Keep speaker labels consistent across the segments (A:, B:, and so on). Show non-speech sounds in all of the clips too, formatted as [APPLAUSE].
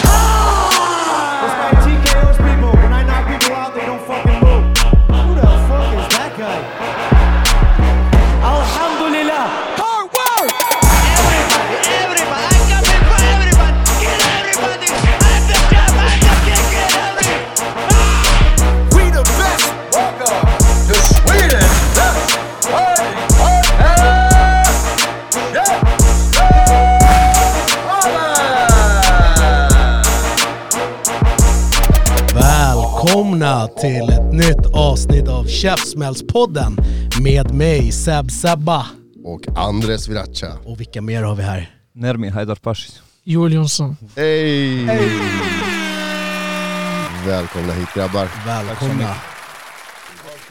A: time!
B: Like TKO's people, when I knock people out, they don't fucking move. Who the fuck is that guy?
A: Alhamdulillah. Hard work!
C: We the best. Welcome. The Sweden. Best. Party. Party. Yeah. Holla!
D: Välkomna till ett nytt avsnitt av Käftsmällspodden med mig Seb Sebba.
E: och Andres Viracha.
D: Och vilka mer har vi här?
F: Nermin Haidar Pashic.
G: Joel Jonsson.
E: Hej! Välkomna hit grabbar.
D: Välkomna.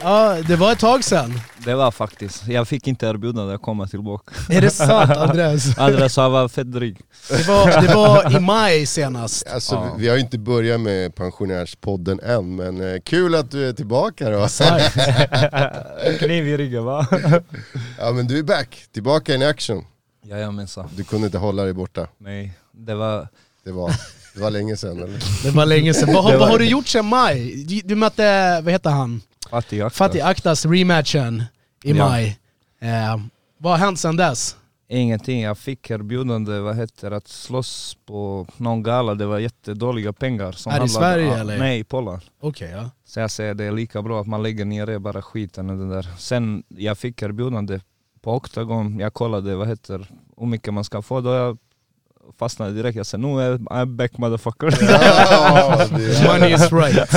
D: Ja, det var ett tag sedan.
F: Det var faktiskt, jag fick inte erbjudande att komma tillbaka.
D: Är det sant [LAUGHS] Andres?
F: Andres han var fett dryg.
D: Det var, det var i maj senast.
E: Alltså, vi- Vi har ju inte börjat med pensionärspodden än, men eh, kul att du är tillbaka då.
F: Kniv i ryggen va?
E: [LAUGHS] Ja men du är back, tillbaka in action.
F: Jajamensan.
E: Du kunde inte hålla dig borta.
F: Nej, det var...
E: Det var, det var länge sedan
F: [LAUGHS]
E: eller?
D: Det var länge sedan. Vad, har-
F: Det var-
D: vad har du gjort sedan maj? Du, du mötte, vad heter han?
F: Fattig jakt.
D: Fatih Aktas rematchen i
F: Ja.
D: maj. Eh, vad har hänt sedan dess?
F: Ingenting, jag fick erbjudande, vad heter det, att slåss på någon gala, det var jättedåliga pengar. Som
D: Här i
F: handlade-
D: Sverige,
F: Ja,
D: eller?
F: Nej, i Polen.
D: Okej ja.
F: Så jag säger det är lika bra att man lägger ner det bara skiten och den där. Sen jag fick erbjudande på Octagon, jag kollade vad heter hur mycket man ska få då jag fastnade direkt. Jag sa nu är I'm back motherfucker.
E: Ja, det,
D: Money is right.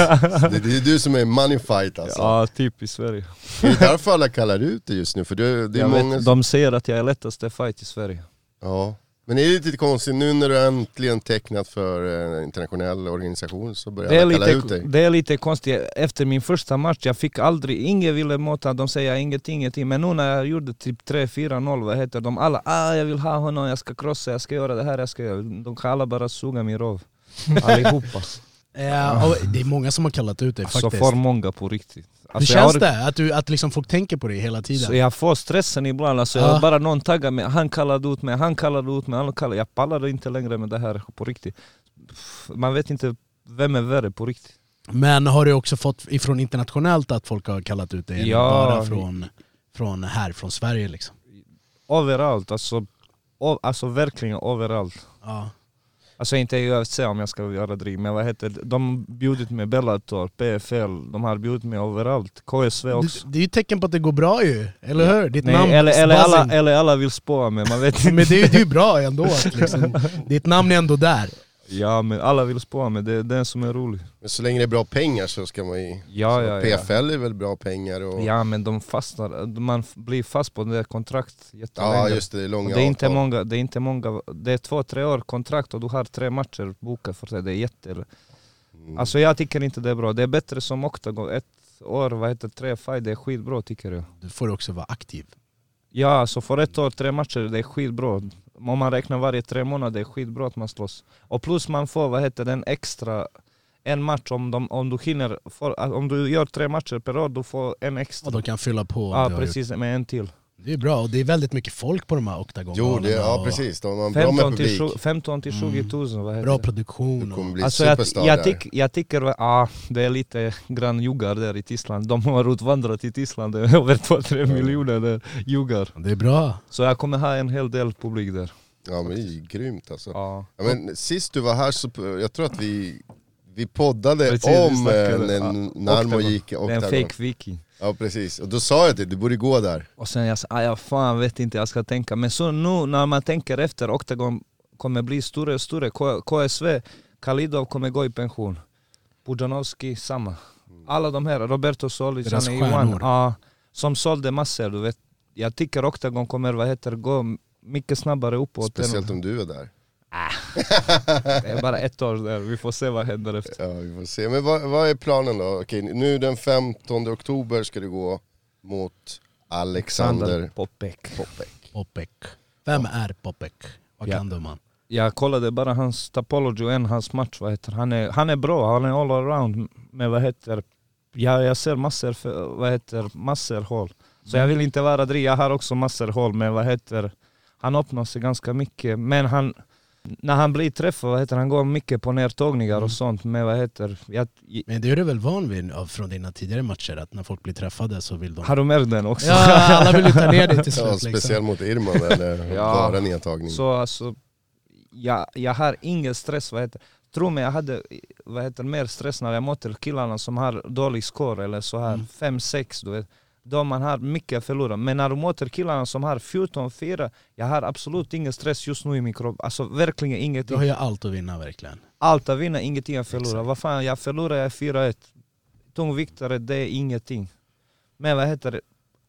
E: det, det är du som är money fight alltså.
F: [LAUGHS] ja, typ i Sverige.
E: Det är därför alla kallar ut dig just nu, för det, det är
F: Jag
E: många...
F: vet, de säger att jag är lättaste fight i Sverige.
E: Ja. Men det är lite konstigt, nu när du äntligen tecknat för en internationell organisation så börjar
F: Det är,
E: alla kalla ut
F: lite,
E: dig.
F: det är lite konstigt, efter min första match, jag fick aldrig, ingen ville mota, de säger ingenting, ingenting. Men nu när jag gjorde typ 3-4-0, vad heter de alla, ah jag vill ha honom, jag ska krossa, jag ska göra det här, jag ska göra De kan alla bara suga
D: [LAUGHS]
F: min rov. Allihopa.
D: Eh, och det är många som har kallat ut dig
F: Så
D: faktiskt.
F: för många på riktigt.
D: Hur
F: Alltså, jag
D: känns
F: har-
D: det? Att, du, att liksom folk tänker på dig hela tiden?
F: Så jag får stressen ibland, alltså
D: Ja.
F: jag bara någon taggar mig, han kallade ut mig, han kallade ut mig, han kallade, jag pallar inte längre med det här på riktigt. Pff, Man vet inte vem är värre på riktigt.
D: Men har du också fått ifrån internationellt att folk har kallat ut dig? eller
F: Ja.
D: Bara från, från här, från Sverige liksom?
F: Överallt, alltså, o- alltså verkligen överallt.
D: Ja.
F: Alltså inte i UFC om jag ska göra dryg, men vad heter det? De bjudit mig Bellator, PFL, de har bjudit mig överallt. KSV också.
D: Det, det är ju ett tecken på att det går bra ju, eller hur? Ditt namn
F: Nej, eller, eller,
D: Spazin.
F: alla, eller alla vill spåa mig, man
D: [LAUGHS]
F: vet
D: Men
F: inte.
D: det är ju det är ju bra ändå att liksom, ditt namn är ändå där.
F: [LAUGHS] Ja men alla vill spåa mig, det är den som är rolig.
E: Men så länge det är bra pengar så ska man ju...
F: Ja, ja, ja.
E: PFL är väl bra pengar och... Ja,
F: Ja men de fastnar, man f- blir fast på det där kontrakt jättelänge.
E: just det, det är
F: Och
E: långa
F: det är inte
E: avtal.
F: många, det är inte många, det är två, tre år kontrakt och du har tre matcher bokade för det, det är jätte...
E: Mm.
F: Alltså jag tycker inte det är bra, det är bättre som Octagon, ett år, vad heter det, tre fight, det är skitbra tycker jag.
D: Du får också vara aktiv.
F: Ja alltså för ett år, tre matcher, det är skitbra. Om man räknar varje tre månader, det är skitbra att man slåss. Och plus man får, vad heter den extra, en match om, de, om du hinner, för, om du gör tre matcher per år, du får en extra.
D: Och de kan fylla på. om
F: Ja
D: du har
F: precis, med en till.
D: gjort- Det är bra, och det är väldigt mycket folk på de här
E: Jo,
D: oktagonbanorna.
E: det, ja
D: och
E: precis. De har bra med
F: 15 till,
E: publik.
F: 20, 15 till 20 tusen, vad heter
D: Mm. Bra
F: det?
D: produktion.
E: Du
D: Och,
E: kommer bli
F: Alltså jag,
E: superstar
F: jag,
E: där.
F: tyck, jag tycker, ja ah, det är lite grann juggar där i Tyskland. De har utvandrat till Tyskland, det är [LAUGHS] över 2-3 miljoner där, juggar.
D: det är bra.
F: Så jag kommer ha en hel del publik där.
E: Ja men det är ju grymt alltså. Ja.
F: Ja.
E: men sist du var här så, jag tror att vi, vi poddade
F: Precis, vi
E: om
F: snackade,
E: eh, när
F: ja,
E: Narmo
F: Octagon.
E: gick
F: Det är en
E: Octagon.
F: fake wiki.
E: Ja precis, och då sa jag till dig, du borde gå där.
F: Och sen jag sa, ah, ja fan vet inte, jag ska tänka. Men så nu när man tänker efter, Octagon kommer bli större och större. K- KSV, Kalidov kommer gå i pension. Budanovski, samma. Alla de här, Roberto Solic,
D: Deras
F: han är Johan,
D: stjärnor.
F: ja, som sålde massor. Du vet. Jag tycker Octagon kommer, vad heter gå mycket snabbare uppåt. än-
E: Speciellt om du är där.
F: Det är bara ett år där, vi får se vad händer efter.
E: Ja vi får se. Men vad, vad är planen då? Okej, nu den 15 oktober ska du gå mot Alexander
F: Popek.
E: Popek.
D: Popek. Vem är Popek? Vad
F: Ja.
D: kan du man?
F: Jag kollade bara hans topology och en hans match, vad heter han? Är, han är bra, han är all around med vad heter Ja, jag ser massor, för, vad heter, massor hål. Så jag vill inte vara dryg, jag har också massor hål, men vad heter, han öppnar sig ganska mycket. Men han, när han blir träffad, vad heter, han går mycket på nertagningar och sånt, men vad heter, jag,
D: Men det är du väl van vid av- från dina tidigare matcher, att när folk blir träffade så vill de...
F: har du märkt den också?
D: [LAUGHS] Ja, alla vill ju ta ner dig till
E: Ja,
D: slut
E: speciellt
D: liksom.
E: mot Irma eller
F: Ja.
E: bara
D: Mm.
E: nedtagning.
F: Så alltså, jag, jag har ingen stress, vad heter Tro mig, jag hade vad heter, mer stress när jag mötte killarna som har dålig score eller så här,
D: Mm.
F: 5-6 du vet. De man har mycket förlorat. Men när du möter killarna som har 14-4, jag har absolut ingen stress just nu i min kropp. Alltså verkligen
D: Du
F: ingenting.
D: har ju allt att vinna verkligen.
F: Allt att vinna, ingenting att förlora. Vad fan, jag förlorar, jag är 4-1. Tungviktare, det är ingenting. Men vad heter det?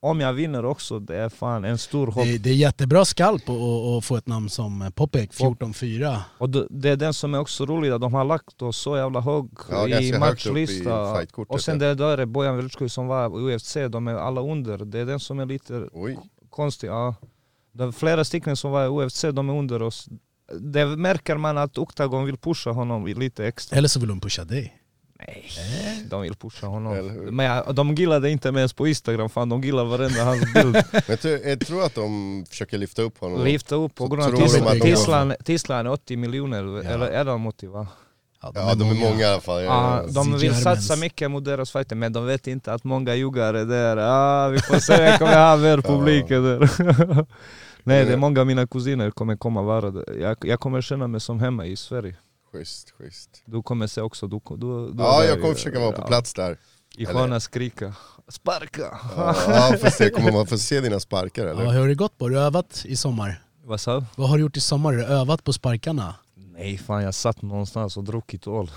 F: Om jag vinner också, det är fan en stor hopp.
D: Det, det är jättebra skalp att- att att få ett namn som eh, Popek, 14-4.
F: Och det, det är den som är också rolig, att de har lagt oss så jävla hög
E: Ja, ganska
F: i
E: högt upp i
F: matchlista.
E: fightkortet,
F: och sen
E: ja.
F: det där är Bojan Velichko som var i UFC, de är alla under. Det är den som är lite
E: Oj.
F: konstig. Ja. Det är flera stycken som var i UFC, de är under oss. Det märker man att Octagon vill pusha honom lite extra.
D: Eller så vill de pusha dig.
F: Nej, de vill pusha honom.
E: Mm. Eller hur?
F: Men ja, de gillade inte ens på Instagram, fan de gillar varenda
E: [LAUGHS]
F: hans bild.
E: Men jag tror- jag tror att de försöker lyfta upp honom.
F: Lyfta upp på
E: Mm. Så
F: grund av
E: tror de
D: att de-
F: Tislan- Tislan, Tislan är 80 miljoner, eller är de 80 va?
E: Ja, de är många i alla fall.
F: Ja, Ah, de vill
D: Germans.
F: satsa mycket mot deras fighter men de vet inte att många jugare är där. Ah, vi får se, jag kommer
E: [LAUGHS]
F: ha mer publik där. [LAUGHS] Nej,
E: Eh.
F: det är många av mina kusiner kommer komma vara där. Jag, jag kommer känna mig som hemma i Sverige.
E: Schysst, schysst.
F: Du kommer se också, du, du, du
E: Ja,
F: är
E: jag
F: ju-
E: kommer försöka vara på
F: ja,
E: plats där.
F: I
E: eller-
F: sköna skrika, sparka!
E: Ja, får se, kommer man få se dina sparkar
D: Ja,
E: eller?
D: hur har det gått på? Har du övat i sommar?
F: Vad sa du?
D: Vad har du gjort i sommar? Har du övat på sparkarna?
F: Nej fan, jag satt någonstans och
E: [LAUGHS]
F: druckit öl.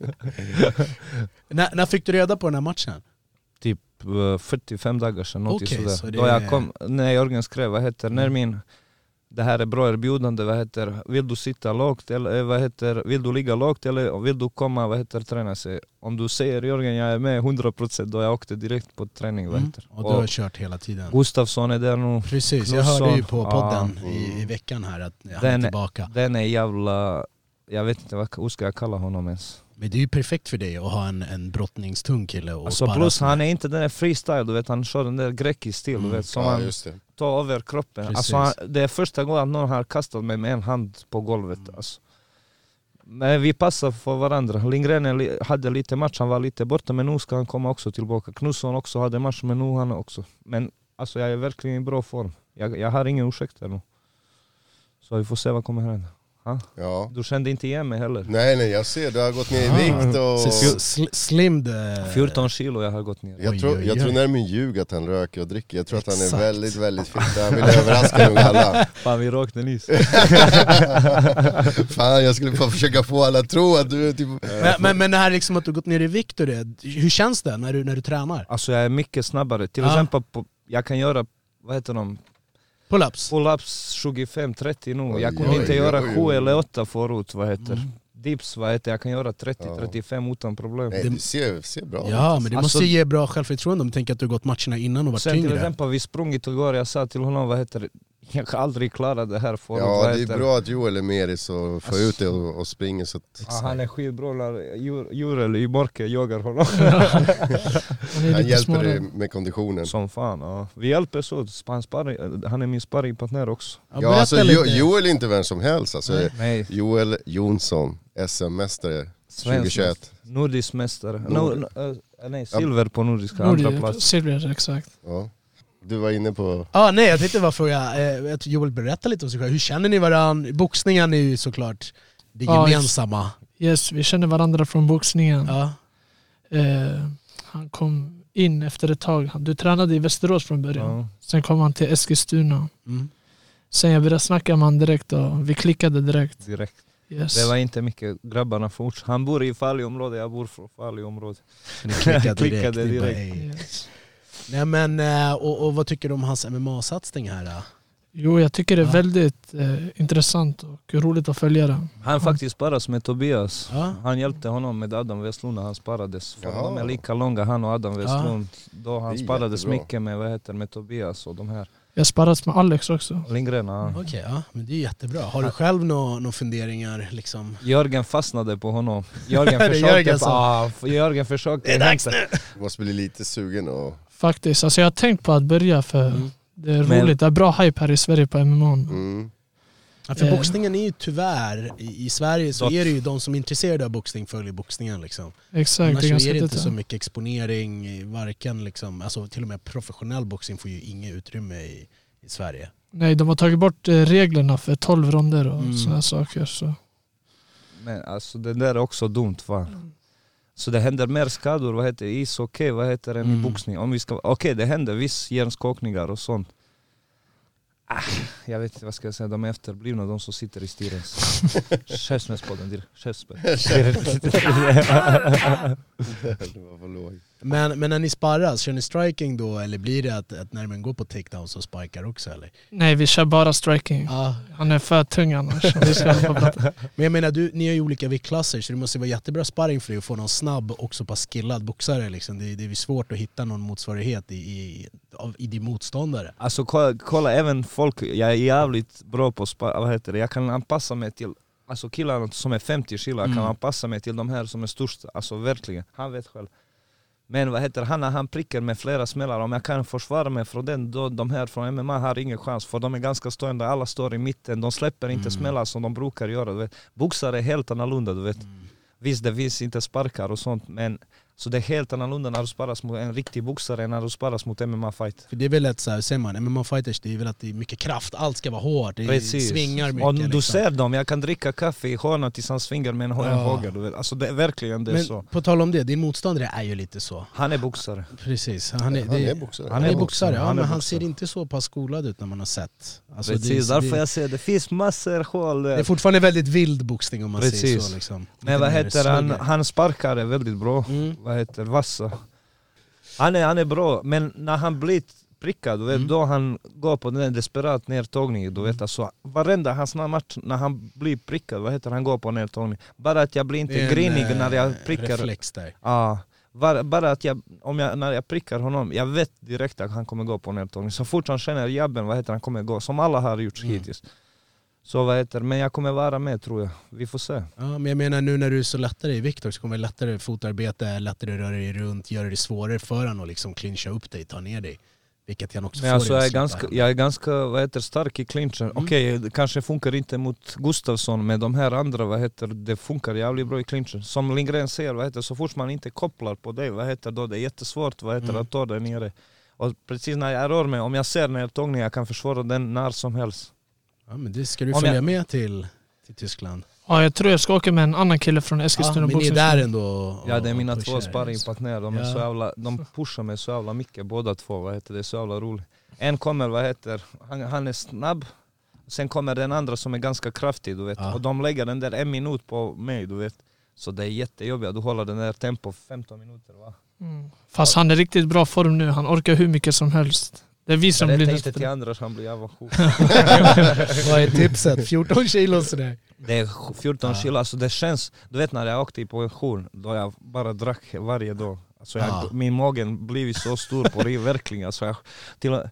F: [LAUGHS]
D: När, när fick du reda på den här matchen?
F: typ eh, 45 dagar sedan, något
D: Okej,
F: sådär.
D: så det
F: Då
D: är- Mm.
F: jag kom, när Jörgen skrev, vad heter, när min det här är bra erbjudande, vad heter, vill du sitta lågt eller eh, vad heter, vill du ligga lågt eller vill du komma, vad heter, träna sig? Om du säger Jörgen jag är med 100% då jag åkte direkt på träning, vad
D: Mm.
F: heter.
D: Och du har
F: Och
D: kört hela tiden?
F: Gustafsson är där nu,
D: Precis, jag
F: Knutsson.
D: hörde ju på
F: Ja.
D: podden i, i veckan här att han är
F: Den-
D: tillbaka.
F: den är jävla, jag vet inte vad hur ska jag kalla honom ens.
D: Men det är ju perfekt för dig att ha en, en brottningstung kille och
F: Alltså
D: sparras
F: plus
D: med.
F: han är inte den där freestyle, du vet han kör den där grekisk stil,
D: Mm.
F: du vet som
E: Ja,
F: han
E: just det.
F: ta över kroppen.
D: Precis.
F: Alltså, han, det är första gången att någon har kastat mig med en hand på golvet. Alltså. Men vi passar för varandra. Lindgren är li- hade lite match, han var lite borta men nu ska han komma också tillbaka. Knutsson också hade match men nu han också. Men alltså jag är verkligen i bra form. Jag, jag har ingen ursäkter nu. Så vi får se vad kommer hända. Ha?
E: Ja.
F: Du kände inte igen mig heller.
E: Nej, nej, jag ser. Du har gått ner i vikt
D: Så
E: och...
D: s- sl- slimmed... eh,
F: 14 kilo jag har gått ner.
E: Jag
D: Oj,
E: tror,
D: oj,
E: jag
D: oj.
E: tror närmare ljug att han röker och dricker. Jag tror att han är
D: Exakt.
E: väldigt, väldigt fit. Han vill överraska nog
F: [LAUGHS]
E: alla. [LAUGHS]
F: Fan vi rökte nyss.
E: Fan, jag skulle bara försöka få alla att tro att du är typ...
D: Men, men, men det här liksom att du gått ner i vikt och det, hur känns det när du, när du tränar?
F: Alltså jag är mycket snabbare. Till
D: Ja.
F: exempel på, jag kan göra, vad heter de,
D: Pull-ups?
F: Pull-ups 25-30 nu. Jag
E: Oj,
F: kunde
E: oj,
F: inte göra
E: oj,
F: 7
E: oj. Mm.
F: eller 8 förut, vad heter. Dips, vad heter. Jag kan göra 30-35 utan problem.
E: Nej, du ser, ser bra ut.
D: Ja men det
F: Alltså-
D: måste ge bra självförtroende om du tänker att du gått matcherna innan och varit
F: Sen till
D: tyngre.
F: exempel, vi sprungit igår, jag sa till honom, vad heter det? [LAUGHS] Jag kan aldrig klara det här förut,
E: Ja,
F: vad
E: det
F: heter
E: är bra att Joel är med dig så får ut det och, och springer så att...
F: Ja, Ah, han är skitbra när djur- Jurel i mörker jagar honom.
E: [LAUGHS]
F: [LAUGHS]
E: Han hjälper dig med konditionen.
F: Som fan, ja. Vi hjälps åt. Han, sparring- eh, han är min sparringpartner också.
D: Ja,
E: Ja,
D: berätta
E: alltså,
D: lite.
E: jo, Joel är inte vem som helst. Alltså,
F: Nej.
E: Joel Jonsson, SM-mästare
F: Svensk
E: 2021.
F: mästare. Nordisk mästare.
E: Nord-
F: No, no, eh, nej, silver på nordiska, andra
G: Nordic,
F: plats.
G: silver, exakt.
E: Ja. Du var inne på...
D: Ja, nej jag tänkte bara fråga, eh, att Joel berätta lite om sig själv. Hur känner ni varandra? Boxningen är ju såklart det
G: Ja,
D: gemensamma.
G: Yes, vi känner varandra från boxningen.
D: Ja.
G: Eh, han kom in efter ett tag. Han- Du tränade i Västerås från början.
F: Ja.
G: Sen kom han till Eskilstuna.
D: Mm.
G: Sen jag började snacka med honom direkt och vi klickade direkt.
F: Direkt.
G: Yes.
F: Det var inte mycket grabbarna fort. Han bor i Faliområdet, jag bor från Faliområdet.
D: Ni
F: [LAUGHS]
D: klickade direkt.
F: Klickade
D: Ni bara,
F: direkt.
D: "Ey."
G: yes.
D: Nej men, eh, och, och vad tycker du om hans MMA-satsning här? Då?
G: Jo, jag tycker det är
D: Ja.
G: väldigt eh, intressant och roligt att följa det.
F: Han faktiskt sparras med Tobias.
D: Ja.
F: Han hjälpte honom med Adam Westlund när han sparades. För
E: Jaha.
F: de är lika långa han och Adam Westlund. Då
E: Det är
F: han sparades
E: jättebra.
F: mycket med, vad heter, det, med Tobias och de här.
G: Jag har sparrat med Alex också.
F: Lindgren, ja.
D: Okej, ja, men det är jättebra. Har du själv några nå funderingar liksom?
F: Jörgen fastnade på
D: [LAUGHS]
F: honom. Jörgen
D: Det är
F: försökte,
D: Jörgen som-
F: ah, Jörgen försökte hämta-
E: Du måste bli lite sugen och...
G: Faktiskt. Alltså jag har tänkt på att börja för
D: Mm.
G: det är
F: Men-
G: roligt. Det är bra hype här i Sverige på MMA.
E: Mm.
D: Ja, för
G: Eh.
D: boxningen är ju tyvärr, i, i Sverige så
F: Dot.
D: är det ju de som är intresserade av boxning följer boxningen liksom.
G: Exakt,
D: Annars
G: det är
D: så
G: ganska
D: är det inte
G: tidigt.
D: så mycket exponering, i varken liksom, alltså till och med professionell boxning får ju inget utrymme i, i Sverige.
G: Nej, de har tagit bort eh, reglerna för 12 ronder och
D: Mm.
G: sådana saker. Så.
F: Men alltså det där är också dumt va. Så det händer mer skador, vad heter det, i ishockey, vad heter det,
D: Mm.
F: i boxning. Om vi ska, okej det händer viss hjärnskakningar och sånt. Ah, jag vet inte vad ska jag säga, de är efterblivna de som sitter i styrelsen. Käftsmällspodden direkt, käftsmäll.
E: Det var för låg.
D: Men, men när ni sparras, kör ni striking då eller blir det att, att när man går på takedown så sparkar också eller?
G: Nej, vi kör bara striking.
D: Ja.
G: Han är för
D: [LAUGHS]
G: tung annars. Vi ska hålla på och prata.
D: Men jag menar, du, ni har ju olika viktklasser så det måste vara jättebra sparring för dig att få någon snabb och så pass skillad boxare liksom. Det, det är ju svårt att hitta någon motsvarighet i, i, av, i din motståndare.
F: Alltså kolla, kolla även folk, jag är jävligt bra på spa, vad heter det, jag kan anpassa mig till Alltså killarna som är 50 kilo, jag kan
D: Mm.
F: anpassa mig till de här som är störst, alltså verkligen, han vet själv Men vad heter det, han, när han prickar med flera smällar, om jag kan försvara mig från den då de här från MMA har ingen chans för de är ganska stående, alla står i mitten, de släpper inte smällar som de brukar göra du vet. Boxare är helt annorlunda du vet Visst det finns inte sparkar och sånt men Så det är helt annorlunda när du sparas mot en riktig boxare än när du sparas mot MMA-fight
D: För det är väl ett så här, säger man, MMA-fighters det är väl att det är mycket kraft, allt ska vara hårt, det
F: Precis.
D: svingar mycket.
F: och du
D: liksom.
F: ser dem, jag kan dricka kaffe i hörnan tills han svingar med en hå- en
D: Ja.
F: hågel. du vet. Alltså det är verkligen det är
D: Men
F: så.
D: på tal om det, din motståndare är ju lite så.
F: Han är boxare.
D: Precis, han är,
E: Han
D: det,
E: är boxare.
D: han är boxare, ja,
F: Han är
D: men han
F: boxare.
D: ser inte så pass skolad ut när man har sett. Alltså,
F: Precis,
D: det, är-
F: därför
D: det,
F: jag säger det finns massor hål.
D: det är fortfarande väldigt vild boxning om man säger
F: Precis.
D: så. Liksom.
F: Men
D: Lite
F: vad
D: mer
F: heter han,
D: slugger.
F: han sparkar är väldigt bra.
D: Mm.
F: Vad heter Vassa. Han är, han är bra, men när han blir prickad, du vet,
D: Mm.
F: då han går på den där desperat nedtagningen. Du vet, alltså, varenda hans match när han blir prickad, vad heter han, går på nedtagning. Bara att jag blir
D: Det
F: inte
D: är en,
F: grinig
D: eh,
F: när jag prickar
D: Reflex där.
F: Ja, bara, bara att jag, om jag, när jag prickar honom, jag vet direkt att han kommer gå på nedtagning. Så fort han känner jabben, vad heter han, kommer gå. Som alla har gjort hittills. Så vad heter men jag kommer vara med tror jag. Vi får se.
D: Ja, men jag menar nu när du är så lättare i vikt också, kommer det lättare fotarbete, lättare röra dig runt, göra det svårare för honom att liksom clincha upp dig, ta ner dig. Vilket han också
F: Men
D: får
F: alltså
D: i
F: jag är
D: slutändan.
F: ganska, jag är ganska vad heter, stark i clinchen. Okej, det kanske funkar inte mot Gustafsson, men de här andra, vad heter det, funkar jävligt bra i clinchen. Som Lindgren säger, vad heter så fort man inte kopplar på dig, vad heter då, det är jättesvårt vad heter, att ta dig nere. Och precis när jag rör mig, om jag ser nedtagning, jag kan försvara den när som helst.
D: Ja, men det ska du
F: Om
D: följa
F: jag-
D: med till, till Tyskland.
G: Ja, jag tror jag ska åka med en annan kille från
D: Ja,
G: Eskilstuna
D: men ni är
G: boxning.
D: där ändå och,
F: Ja det är mina
D: och
F: två
D: pushar.
F: sparringpartner, de, är
D: Ja.
F: så jävla, de pushar mig så jävla mycket båda två, vad heter det, så jävla roligt. En kommer, vad heter, han, han är snabb, sen kommer den andra som är ganska kraftig du vet.
D: Ja.
F: Och de lägger den där en minut på mig du vet. Så det är jättejobbigt, du håller den där tempo 15 minuter va.
G: Mm. Fast han är i riktigt bra form nu. Han orkar hur mycket som helst. Det är vi som
F: det
G: blir
F: tänkte till
G: nästa.
F: andra så han blir avundsjuk.
D: Vad är tipset? 14 Typ
F: [LAUGHS]
D: kilo sådär.
F: Det är 14 kilo, alltså det känns, du vet när jag åkte på jour, då jag bara drack varje dag. Alltså jag,
D: Ja.
F: Min magen blivit så stor på det, verkligen. Alltså jag, till, och-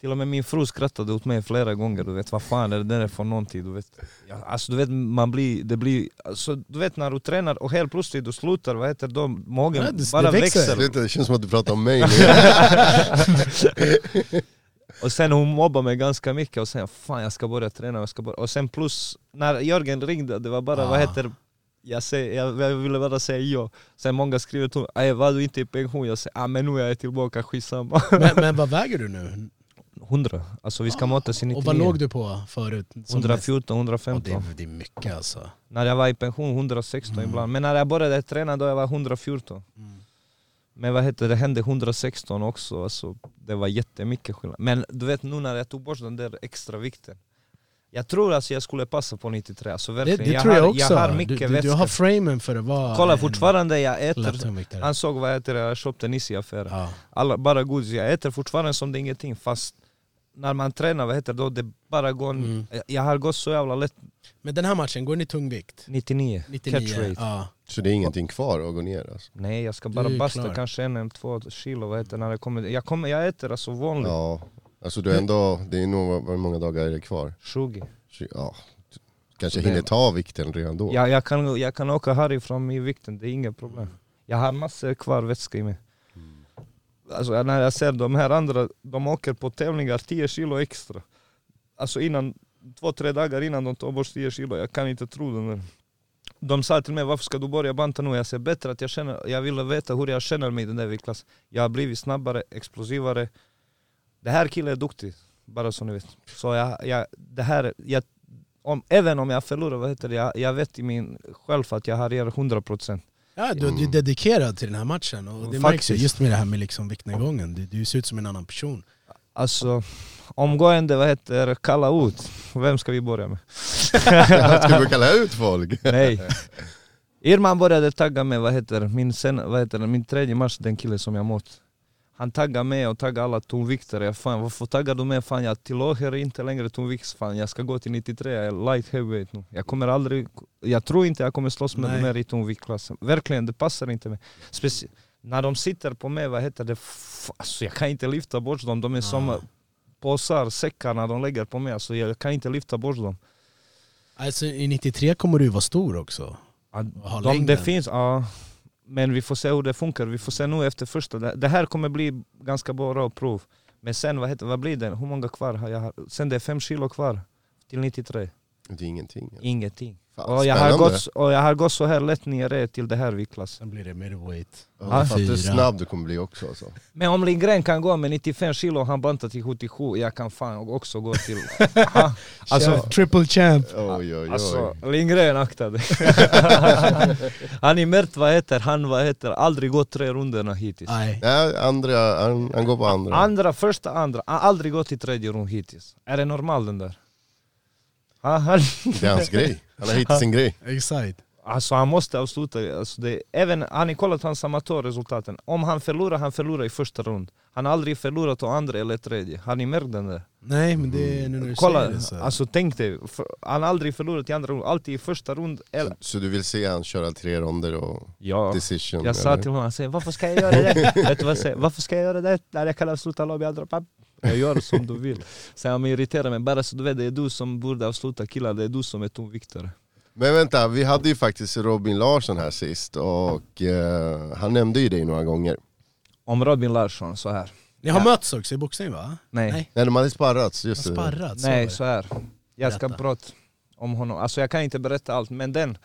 F: till och med min fru skrattade åt mig flera gånger, du vet vad fan är det där för någonting? Du vet, ja, alltså du vet, man blir, det blir, alltså, du vet när du tränar och helt plötsligt du slutar, vad heter det, magen
D: Ja, det-
F: bara
D: det växer.
F: växer.
E: Sluta, Det känns som att du pratar om
D: [LAUGHS]
E: mig nu.
F: Och sen hon mobbade mig ganska mycket och sen fan jag ska börja träna, jag ska börja. Och sen plus, när Jörgen ringde, det var bara
D: Ah.
F: vad heter jag, säger, jag, jag ville bara säga ja. Sen många skriver till mig, "Ej, var du inte i pension? Jag säger, ah, men nu är jag tillbaka, skitsamma. [LAUGHS]
D: Men, men vad väger du nu?
F: 100, alltså vi ska mötas i 99.
D: Ah. Och vad låg du på förut? som mest?
F: 114,
D: Ja,
F: 115.
D: det, är- det är mycket alltså.
F: När jag var i pension 116
D: Mm.
F: ibland. Men när jag började träna då jag var 114. Men vad heter det, hände 116 också. Alltså, det var jättemycket skillnad. Men du vet nu när jag tog bort den där extra vikten. Jag tror alltså jag skulle passa på 93. Alltså,
D: Det,
F: verkligen.
D: det tror jag
F: har,
D: också.
F: Jag har
D: du,
F: mycket
D: du, du
F: vätska.
D: har framen för att vara
F: Kolla
D: en
F: fortfarande jag äter.
D: lättungviktare.
F: Han såg vad jag äter, jag köpte nyss i affären.
D: Ja.
F: Alla, bara godis. Jag äter fortfarande som det är ingenting fast när man tränar, vad heter det då? Det bara går...
D: Mm.
F: Jag, jag har gått så jävla lätt
D: Men den här matchen, går ni tungvikt?
F: 99.
D: 99?
F: Catch rate.
D: Ja.
E: Så det är ingenting kvar att gå ner alltså.
F: Nej jag ska
D: Du
F: bara
D: är
F: basta
D: klar. Mm.
F: kanske en eller två kilo vad heter det, när det kommer. Jag, kommer, jag äter alltså vanligt.
E: Ja, Alltså du har ändå, det är nog, hur många dagar är det kvar?
F: 20.
E: Så, ja, du kanske
F: Det-
E: hinner ta vikten redan då. [LAUGHS]
F: Jag, jag, kan, jag kan åka härifrån i vikten, det är inga problem. Jag har massor kvar vätska i mig. Alltså när jag ser de här andra, de åker på tävlingar 10 kilo extra. Alltså innan, två, tre dagar innan de tar bort 10 kilo, jag kan inte tro det. nu. De sa till mig varför ska du börja banta nu? Jag säger bättre att jag känner, jag ville veta hur jag känner mig i den där viktklassen. Jag har blivit snabbare, explosivare. Det här killen är duktig, bara så ni vet. Så jag, jag, det här, jag om, även om jag förlorar, vad heter det, jag, jag vet i min själv att jag har er 100%.
D: Ja, du, du är dedikerad till den här matchen och det
F: Mm. Faktiskt.
D: märks ju just med det här med liksom viktnedgången. Du, du ser ut som en annan person.
F: Alltså, omgående, vad heter det, kalla ut. Vem ska vi börja med?
E: Ska vi kalla ut folk?
F: Nej. Irman började tagga mig, vad heter det, min, sen, vad heter det, min tredje match, den killen som jag mött. Han taggade mig och taggade alla tungviktare. Jag Fan, varför taggar du mig? Fan, jag tillhör inte längre tungvikts. Fan, jag ska gå till 93, jag är light heavyweight nu. Jag kommer aldrig, jag tror inte jag kommer slåss med
D: Nej.
F: de här i tungviktklassen. Verkligen, det passar inte mig. Speci- när de sitter på mig, vad heter det, f- alltså, jag kan inte lyfta bort dem. De är som påsar, säckar när de lägger på mig. Alltså, jag kan inte lyfta bort dem.
D: Alltså i 93 kommer du vara stor också.
F: Ja,
D: ha
F: de, det
D: längden.
F: finns, ja. Men vi får se hur det funkar. Vi får se nu efter första. Det det här kommer bli ganska bra prov. Men sen, vad, heter, vad blir det? Hur många kvar har jag? Sen det är fem kilo kvar till 93.
E: Det är ingenting.
F: Ingenting.
E: Fan,
F: och, jag har
E: spännande.
F: gått, och jag har gått så här lätt nere till det här viktklassen.
D: Sen blir det middleweight.
E: Ja, fatta hur
D: Fyra.
E: snabb du kommer bli också alltså.
F: Men om Lindgren kan gå med 95 kilo och han bantar till 77, jag kan fan också gå till... Ha, alltså,
G: Triple champ.
E: Oj oj
F: Alltså,
E: oj.
F: Lindgren akta dig. han är märkt, vad heter han, vad heter, aldrig gått tre rundorna hittills.
D: Nej.
E: Nej, andra, han, han går på andra.
F: Andra, första, andra. Han har aldrig gått i tredje rum hittills. Är det normal den där? Han, han,
E: Det är hans grej. Han har hittat sin grej.
D: Exakt.
F: alltså han måste avsluta. Alltså det, även, har ni kollat hans amatörresultaten? Om han förlorar, han förlorar i första rund. Han har aldrig förlorat å andra eller tredje. Har ni märkt den där?
D: Nej men det är nu när du
F: Mm. Kolla,
D: säger det så.
F: alltså tänk dig. För, han har aldrig förlorat i andra rund, alltid i första rund. Eller,
E: Så du vill se han köra tre ronder och
F: ja.
E: decision?
F: Jag sa
E: eller?
F: till honom, han säger varför ska jag göra det? Vet du vad jag säger? Varför ska jag göra det? När jag kan avsluta lobby andra papp. Jag gör som du vill. Så han irriterar mig, bara så du vet, det är du som borde avsluta killar, det är du som är tungviktare.
E: Men vänta, vi hade ju faktiskt Robin Larsson här sist och eh, han nämnde ju dig några gånger.
F: Om Robin Larsson, så här.
D: Ni har
F: Ja.
D: mötts också i boxning va?
F: Nej,
D: Nej.
F: nej,
E: Nej de hade sparrats, just det.
D: Sparrat? så var det.
F: så här. Jag ska
D: Berätta.
F: prata om honom, alltså jag kan inte berätta allt, men den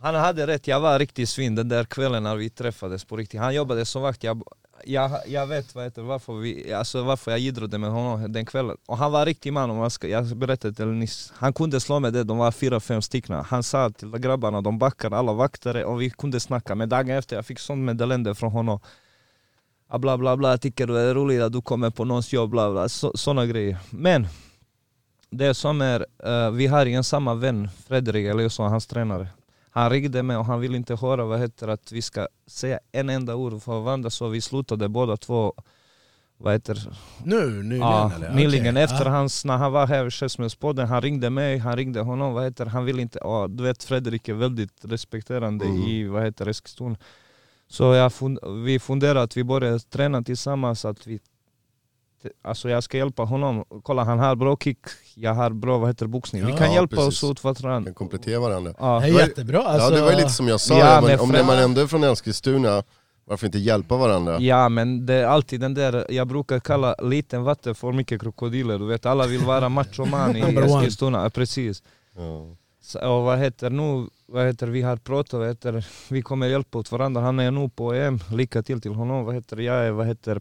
F: han hade rätt, jag var riktigt svin den där kvällen när vi träffades på riktigt. Han jobbade som vakt, jag, jag, jag vet vad heter, varför, vi, alltså varför jag idrottade med honom den kvällen. Och han var riktig man, om man ska, jag berättade till er nyss. Han kunde slå med det, de var fyra, fem stycken. Han sa till grabbarna, de backar alla vaktare och vi kunde snacka. Men dagen efter, jag fick sånt meddelande från honom. Ah, Bla bla bla, tycker du är roligt att du kommer på någons jobb, bla bla, sådana grejer. Men det som är, eh, vi har en samma vän, Fredrik Eliasson, hans tränare. Han ringde mig och han ville inte höra vad heter att vi ska säga en enda ord för varandra så vi slutade båda två, vad heter
D: Nu? Nyligen
F: Ja,
D: eller?
F: nyligen.
D: Okej.
F: Efter
D: Ja.
F: hans, när han var här i Chessmanspodden, han ringde mig, han ringde honom, vad heter han vill inte, ja, du vet Fredrik är väldigt respekterande
D: Mm.
F: i, vad heter Eskilstuna. Så jag fund, vi funderade att vi börjar träna tillsammans, att vi, alltså jag ska hjälpa honom. Kolla han har bra kick, jag har bra, vad heter boxning. vi
D: Ja,
F: kan
E: ja,
F: hjälpa
E: precis.
F: oss ut varandra.
E: Kan komplettera varandra.
F: Ja.
D: Det är jättebra. Alltså,
E: ja det var ju lite som jag sa,
F: Ja,
E: ja, men,
F: men
E: om
F: fra-
E: man ändå är från Eskilstuna, varför inte hjälpa varandra?
F: Ja men det är alltid den där, jag brukar kalla liten vatten för mycket krokodiler, du vet alla vill vara machoman i
D: [LAUGHS] Number one.
F: Eskilstuna, ja, precis. Så, och vad heter nu, vad heter vi har pratat, vad heter, vi kommer hjälpa åt varandra, han är nu på EM, lycka till till honom, vad heter jag, är, vad heter,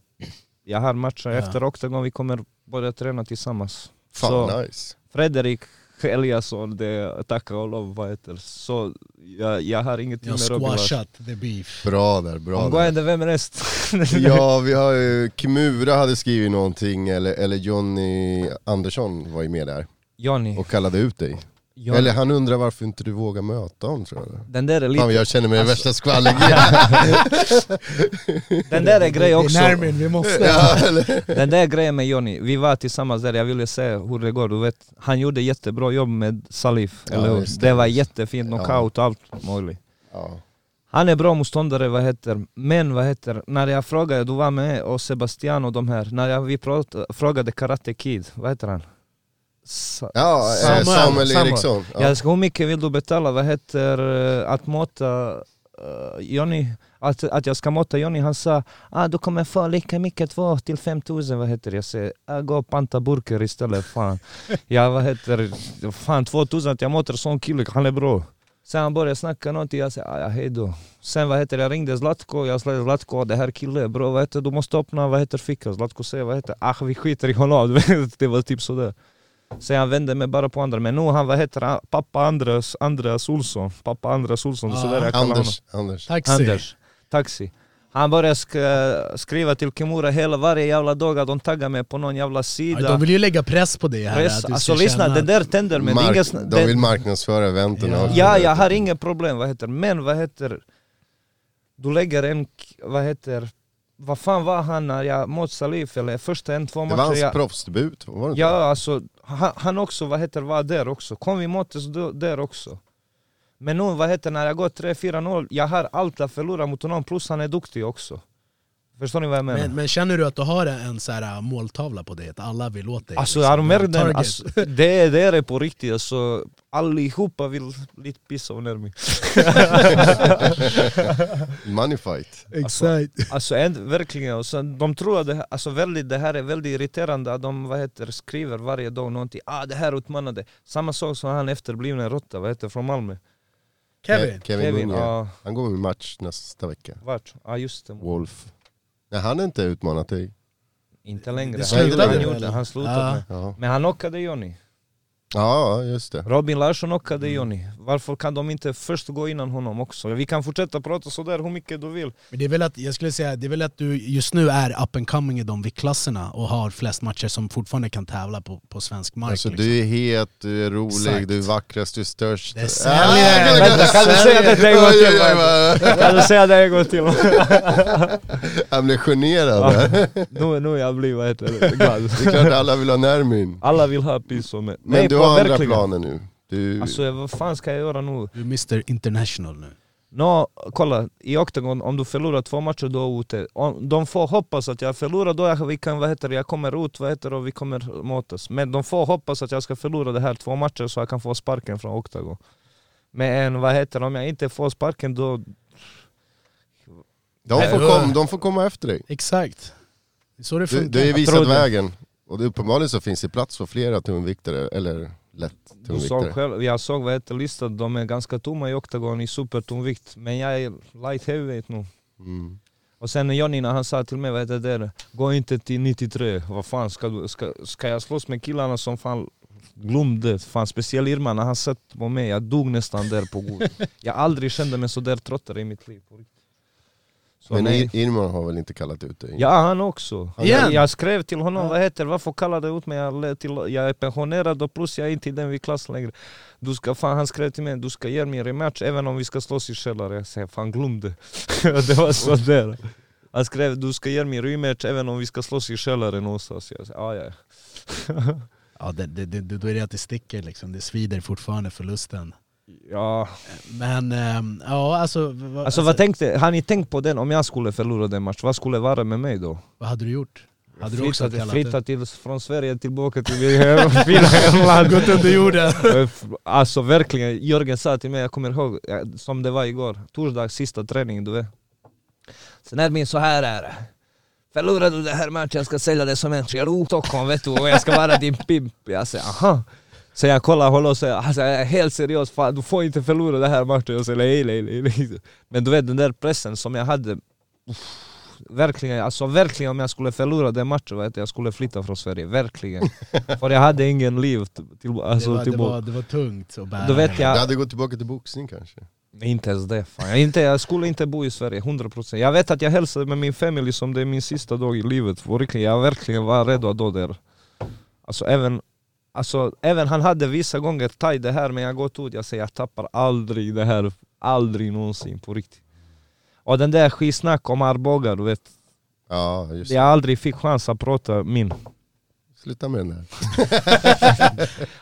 F: jag har matcher
D: Ja.
F: efter Octagon, vi kommer börja träna tillsammans.
E: Fan
F: så
E: nice.
F: Fredrik Eliasson, det är tacka och lov, vad heter, så jag, jag har ingenting
D: jag har
F: med Robin Larsson.
D: squashat the beef.
E: Bra där, bra där.
F: Omgående, vem är näst? [LAUGHS]
E: Ja, vi har ju, Kimura hade skrivit någonting, eller, eller Johnny Andersson var ju med där
F: Johnny.
E: och kallade ut dig.
F: Johnny.
E: Eller han undrar varför inte du vågar möta honom tror jag.
F: Den där är lite...
E: Fan jag känner mig i
F: Alltså-
E: värsta
F: [LAUGHS]
E: skvallergrejen.
F: Den där är grej också.
D: Nermin, vi måste.
E: ja, eller?
F: Den där grejen med Johnny, vi var tillsammans där, jag ville se hur det går. Du vet, han gjorde jättebra jobb med Salif,
E: Ja,
F: eller hur?
E: just
F: Det var jättefint,
E: Ja.
F: knockout och allt möjligt.
E: ja.
F: Han är bra motståndare, vad heter, men vad heter, när jag frågade, du var med och Sebastian och de här, när jag, vi prat, frågade Karate Kid, vad heter han? Sa-
E: Ja, Samuel,
F: Samuel.
E: Samuel
F: Samuel.
E: Eriksson. Ja.
F: Jag ska, hur mycket vill du betala, vad heter, eh, att måtta eh, Johnny? Att, att jag ska måtta Johnny, han sa ah, du kommer få lika mycket, två till fem tusen, vad heter det? Jag säger, ah, gå och panta burkar istället, fan. ja, vad heter, fan två tusen att jag måttar sån kille, han är bra. Sen han började snacka någonting, jag säger ah, ja, hej då. Sen vad heter det, jag ringde Zlatko, jag sa Zlatko det här killen är bra, vad heter du måste öppna, vad heter fickan? Zlatko säger vad heter, ah vi skiter i honom, [LAUGHS] Du vet, det var typ sådär. Sen jag vände mig bara på andra, men nu han, vad heter han, pappa Andres, Andreas Olsson, pappa Andreas Olsson, det är
D: Ah,
F: sådär jag kallar honom.
E: Anders, Anders.
D: Taxi.
F: Anders, taxi. Han började sk skriva till Kimura hela varje jävla dag att de taggar mig på någon jävla
D: Ja,
F: sida.
D: de vill ju lägga press på dig här.
F: Press,
D: att du
F: alltså
D: ska
F: lyssna,
D: känna-
F: det där tänder mig. Det är
E: Mark-
F: inget sn-
E: de
F: det-
E: vill marknadsföra eventen.
D: Ja.
E: och-
F: Ja, jag har inga problem, vad heter Men vad heter... Du lägger en, k- vad heter... Vad fan var han när jag mot Salif eller första en, två
E: Det var
F: matcher
E: hans
F: jag...
E: proffsdebut, var det inte?
F: Ja, alltså han, han också, vad heter, var där också. Kom vi möttes då- där också. Men nu, vad heter, när jag går 3-4-0, jag har allt att förlora mot honom, plus han är duktig också. Förstår ni vad jag menar?
D: Men, men känner du att du har en så här äh, måltavla på dig? Att alla vill åt dig?
F: Alltså
D: liksom?
F: har du märkt den?
D: Target.
F: Alltså, det, det är det på riktigt, alltså, allihopa vill lite pissa ner
D: [LAUGHS]
F: mig.
E: Money fight.
D: Exakt.
F: Alltså en, verkligen, och sen, de tror att det, här- alltså, väldigt, det här är väldigt irriterande att de vad heter, skriver varje dag någonting, ah det här utmanade. Samma sak som han efterblivna råtta, vad heter från Malmö?
D: Kevin,
E: Kevin, Kevin
F: ja. Ah,
E: Han går med match nästa vecka.
F: vart? ah, just det,
E: Wolf. Nej, han har inte utmanat dig.
F: inte längre.
D: Det
F: han,
E: slutade
F: han,
E: det
F: gjorde,
D: väl?
F: han slutade
D: Ah.
F: med.
E: Ja,
F: Men han knockade Johnny.
E: ja just det.
F: Robin Larsson knockade
D: Mm.
F: Johnny. Varför kan de inte först gå innan honom också? Vi kan fortsätta prata sådär hur mycket du vill.
D: Men det är väl att, jag skulle säga, det är väl att du just nu är up and coming i de viktklasserna och har flest matcher som fortfarande kan tävla på, på svensk mark.
E: Alltså
D: liksom.
E: du är het, du är rolig,
D: Exakt.
E: du är vackrast, du är störst.
D: Det
E: Ah,
D: säljer!
E: jag kan-
F: Vänta, kan du säga [LAUGHS] det en gång
E: Oj,
F: till,
E: oj, oj,
F: Kan du säga det en gång till?
E: Jag blev generad.
F: Nu, nu jag blir vad heter det, glad.
E: Det är klart alla vill ha Nermin.
F: Alla vill ha pisso med.
E: Men
F: Nej,
E: du
F: på
E: har andra
F: verkligen.
E: planer nu. Du,
F: Alltså vad fan ska jag göra nu?
D: Du är Mr International nu.
F: Nå, kolla, i Octagon om du förlorar två matcher då är ute. Om, de får hoppas att jag förlorar då, jag, vi kan, vad heter det, jag kommer ut vad heter det, och vi kommer mötas. Men de får hoppas att jag ska förlora de här två matcherna så jag kan få sparken från Octagon. Men vad heter det, om jag inte får sparken då...
E: de, får kom, de får komma efter dig.
D: Exakt. Det är så det
E: Du,
D: funkar.
E: du är
F: trodde-
E: visat vägen. Och det, uppenbarligen så finns det plats för flera tungviktare, eller lätt
F: Du såg
E: tungviktare.
F: själv, jag såg vad heter listan, de är ganska tomma i Octagon i supertomvikt. Men jag är light heavyweight nu.
E: Mm.
F: Och sen Johnny när han sa till mig, vad heter det, där, gå inte till 93, vad fan ska, du, ska, ska jag slåss med killarna som fan glömde, fan speciellt Irma när han satt på mig, jag dog nästan där på god. jag aldrig kände mig så där tröttare i mitt liv. på riktigt. Så
E: Men
F: nej.
E: Ir- Irman har väl inte kallat ut dig?
F: Ja han också.
D: Igen?
F: Jag, jag skrev till honom, vad heter varför kallade du ut mig? Jag, lät till, jag är pensionerad och plus jag är inte i den vid klass längre. Du ska, fan, han skrev till mig, du ska ge mig en rematch även om vi ska slåss i källare. Jag säger, fan glöm det. [LAUGHS] det var sådär. Han skrev, du ska ge mig en rematch även om vi ska slåss i källaren någonstans. Jag säger, ah, ja.
D: Ja, det, det, det, då är det att det sticker liksom. Det svider fortfarande förlusten.
F: ja.
D: Men ehm, ja, alltså, v- vad-
F: Alltså vad tänkte, har ni tänkt på den, om jag skulle förlora den matchen, vad skulle vara med mig då?
D: vad hade du gjort? Hade du också
F: Flytta,
D: kallat
F: flytta
D: det?
F: till, från Sverige tillbaka till mitt
D: [LAUGHS]
F: hem- fina hemland.
D: Gått under jorden.
F: Alltså verkligen, Jörgen sa till mig, jag kommer ihåg ja, som det var igår, torsdag, sista träning du vet. Sen är min så här är det. Förlorar du den här matchen, jag ska sälja det som en Stockholm vet du och jag ska vara din pimp. Jag säger aha. Så jag kollar honom och säger alltså, jag är helt seriös, fan, du får inte förlora den här matchen. Jag säger nej, nej, nej, nej. Men du vet den där pressen som jag hade, uff, verkligen, alltså verkligen om jag skulle förlora den matchen, vet du, jag skulle flytta från
D: [LAUGHS]
F: Sverige, verkligen. För jag hade ingen liv t- till,
D: Det
F: alltså,
D: var, det,
F: tillbaka.
D: var, det var tungt att bära.
F: Då vet
E: Du
F: jag,
E: hade gått tillbaka till boxning kanske?
F: inte ens det. Fan. Jag, inte, jag skulle inte bo i Sverige, 100%. Jag vet att jag hälsade med min familj som det är min sista dag i livet. För verkligen, jag verkligen var redo att dö där. Alltså även, alltså, även han hade vissa gånger tagit det här men jag gått ut, jag säger jag tappar aldrig det här, aldrig någonsin på riktigt. Och den där skitsnack om Arboga, du vet.
E: Ja, just det.
F: Jag aldrig fick chans att prata min.
E: Sluta med den där.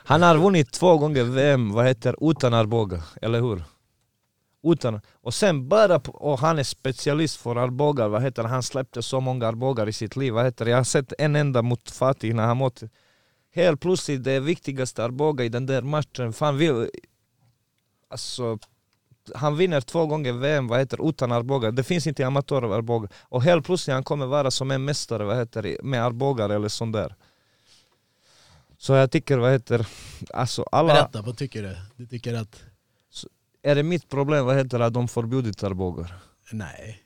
F: Han har vunnit två gånger VM, vad heter utan Arboga, eller hur? Utan, och sen bara, på, och han är specialist för armbågar, vad heter det? Han släppte så många armbågar i sitt liv, vad heter det? Jag har sett en enda mot Fatih när han mot Helt plötsligt det viktigaste armbåga i den där matchen, fan vill... Alltså, han vinner två gånger VM, vad heter det, utan armbågar. Det finns inte i amatörer armbågar. Och helt plötsligt han kommer vara som en mästare, vad heter det, med armbågar eller sånt där. Så jag tycker, vad heter alltså alla...
D: Berätta, vad tycker du? Du tycker att,
F: Är det mitt problem, vad heter det, att de förbjudit armbågar?
D: nej.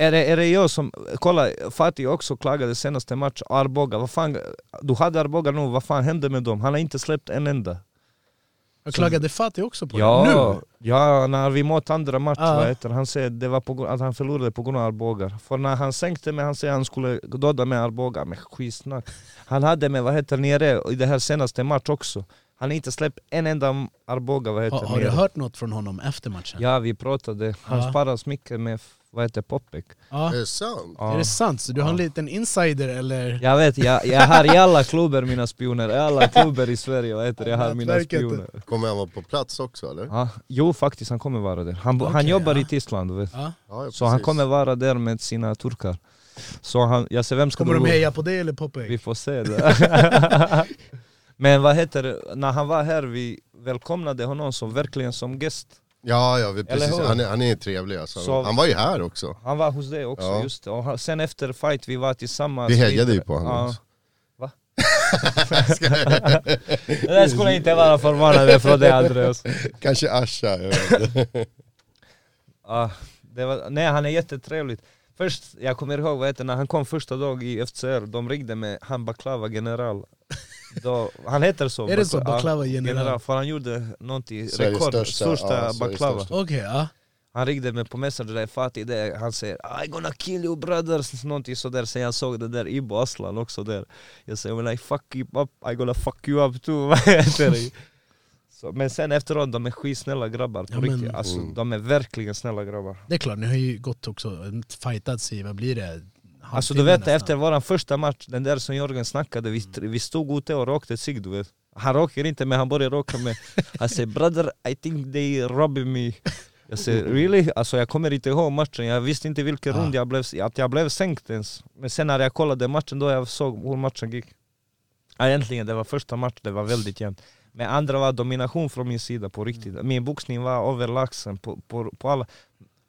F: Är det, är det jag som, kolla Fatih också klagade senaste match, armbågar, vad fan, du hade armbågar nu, vad fan hände med dem? Han har inte släppt en enda.
D: Jag klagade Fatih också på det.
F: Ja,
D: Nu!
F: ja, när vi mötte andra match,
D: Ja.
F: vad heter det, han säger det var på, grund- att han förlorade på grund av armbågar. För när han sänkte mig, han säger han skulle döda med armbågar, men skitsnack. Han hade mig, vad heter det, nere i det här senaste match också. Han har inte släppt en enda armbågar, vad heter
D: Har, har
F: nere.
D: du hört något från honom efter matchen?
F: Ja, vi pratade. Han
D: Ja.
F: sparas mycket med, vad heter det, Popek.
D: Ja.
E: Är det sant?
F: Ja.
D: Är det sant? Så du har en
F: Ja.
D: liten insider eller?
F: Jag vet, jag, jag har i alla klubbar mina spioner, i alla klubbar i Sverige, vad heter det, jag har mina
D: Nätverket.
F: spioner.
E: Kommer han vara på plats också eller?
F: Ja, jo faktiskt, han kommer vara där. Han, bo- han
D: Okej,
F: jobbar
D: ja.
F: i Tyskland, vet.
D: Ja.
E: Ja, ja,
F: Så han
E: precis.
F: kommer vara där med sina turkar. Så han, jag ser vem ska
D: Kommer
F: det
D: de
F: bli?
D: heja på dig eller Popeye?
F: Vi får se det. [LAUGHS] Men vad heter det, när han var här, vi välkomnade honom som, verkligen som gäst.
E: Ja, ja vi, precis.
F: hur?
E: Han är, han är trevlig alltså.
F: Så-
E: Han var ju här också.
F: Han var hos dig också,
E: Ja.
F: just det. Och han- sen efter fight, vi var tillsammans.
E: Vi hejade ju
F: vidare.
E: på honom
F: Ja.
E: också. [LAUGHS]
F: Va? det där skulle inte vara förvånande från dig Andreas.
E: Kanske Asha, jag vet inte.
F: Ja, det var, nej han är jättetrevlig. Först, jag kommer ihåg vad heter, när han kom första dag i FCR, de ringde med han Baklava general. Då, han heter så.
D: Är det så?
F: Bakla- ja,
D: Baklava general?
F: För han gjorde någonting,
E: Sveriges
F: rekord,
E: största,
F: största,
E: ja, Sveriges
F: baklava.
E: största.
D: Okej, ja.
F: Han ringde mig på Messenger, där Fatih där, han säger I'm gonna kill you brothers, någonting sådär. Sen jag såg det där Ibo Aslan också där. Jag säger when I fuck you up, I gonna fuck you up too. [LAUGHS] Vad heter det? så, men sen efteråt, de är skitsnälla grabbar på
D: Ja, men- Mm.
F: riktigt. Alltså, de är verkligen snälla grabbar.
D: Det är klart, ni har ju gått också, fightats i, vad blir det?
F: Alltså du vet efter våran första match, den där som Jörgen snackade, vi, vi stod ute och rökte cigg du vet. Han röker inte men han börjar
D: [LAUGHS]
F: röka med. Han säger brother I think they robbing me. Jag säger really? Alltså jag kommer inte ihåg matchen, jag visste inte vilken
D: Ah.
F: rund jag blev, att jag blev sänkt ens. Men sen när jag kollade matchen då jag såg hur matchen gick. Ja, egentligen det var första matchen, det var väldigt jämnt. Men andra var domination från min sida på riktigt.
D: Mm.
F: Min boxning var överlägsen på, på, på alla.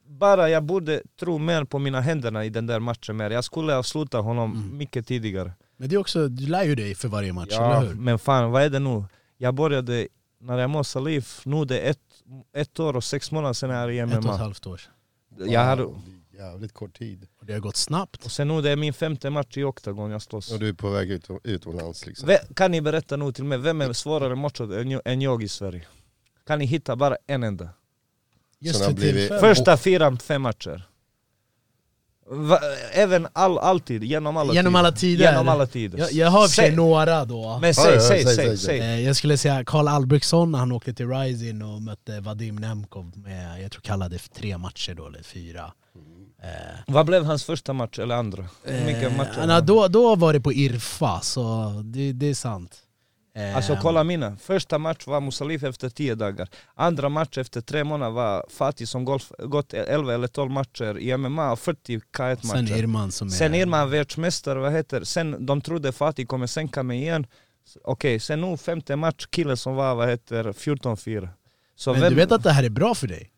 F: Bara jag borde tro mer på mina händerna i den där matchen mer. Jag skulle avsluta honom
D: Mm.
F: mycket tidigare.
D: Men det är också, du lär ju dig för varje match,
F: Ja,
D: eller hur?
F: men fan vad är det nu? Jag började när jag mådde saliv, nu det är ett, ett år och sex månader sedan jag är i
D: Ett och ett
F: MMA.
D: halvt år.
F: Jag har,
E: Wow, det är Jävligt kort tid.
D: Och det har gått snabbt.
F: och sen nu det är min femte match i Octagon jag slåss.
E: Och du är på väg ut, utomlands liksom.
F: Ve- Kan ni berätta nu till mig, vem är svårare matchad än jag- än jag i Sverige? Kan ni hitta bara en enda?
D: Just
E: Sen har
D: för
E: blivit-
D: tillfället.
F: Första fyra, fem matcher. Va, även all, alltid, genom alla
D: Genom
F: tider.
D: alla tider.
F: Genom alla tider.
D: Jag, jag har i och för sig
F: Säg-
D: några då.
F: Men
E: Ja, ja,
F: säg, säg,
E: säg,
F: säg,
E: säg.
F: säg.
D: Eh, Jag skulle säga Karl Albrektsson när han åkte till Rising och mötte Vadim Nemkov med, jag tror kallade för tre matcher då, eller fyra.
F: Vad blev hans första match eller andra? Hur mycket matcher?
D: Eh, na, då, då var det på Irfa, så det, det är sant. Eh,
F: Alltså kolla mina, första match var Musalif efter 10 dagar, andra match efter 3 månader var Fatih som golf, gått 11 eller 12 matcher i MMA och 40 K1
D: Sen
F: matcher.
D: Irman som är...
F: Sen är man världsmästare, vad heter Sen de trodde Fatih kommer sänka mig igen. S- Okej, sen nu femte match, killen som var, vad heter 14-4. Så
D: men
F: vem-
D: du vet att det här är bra för dig?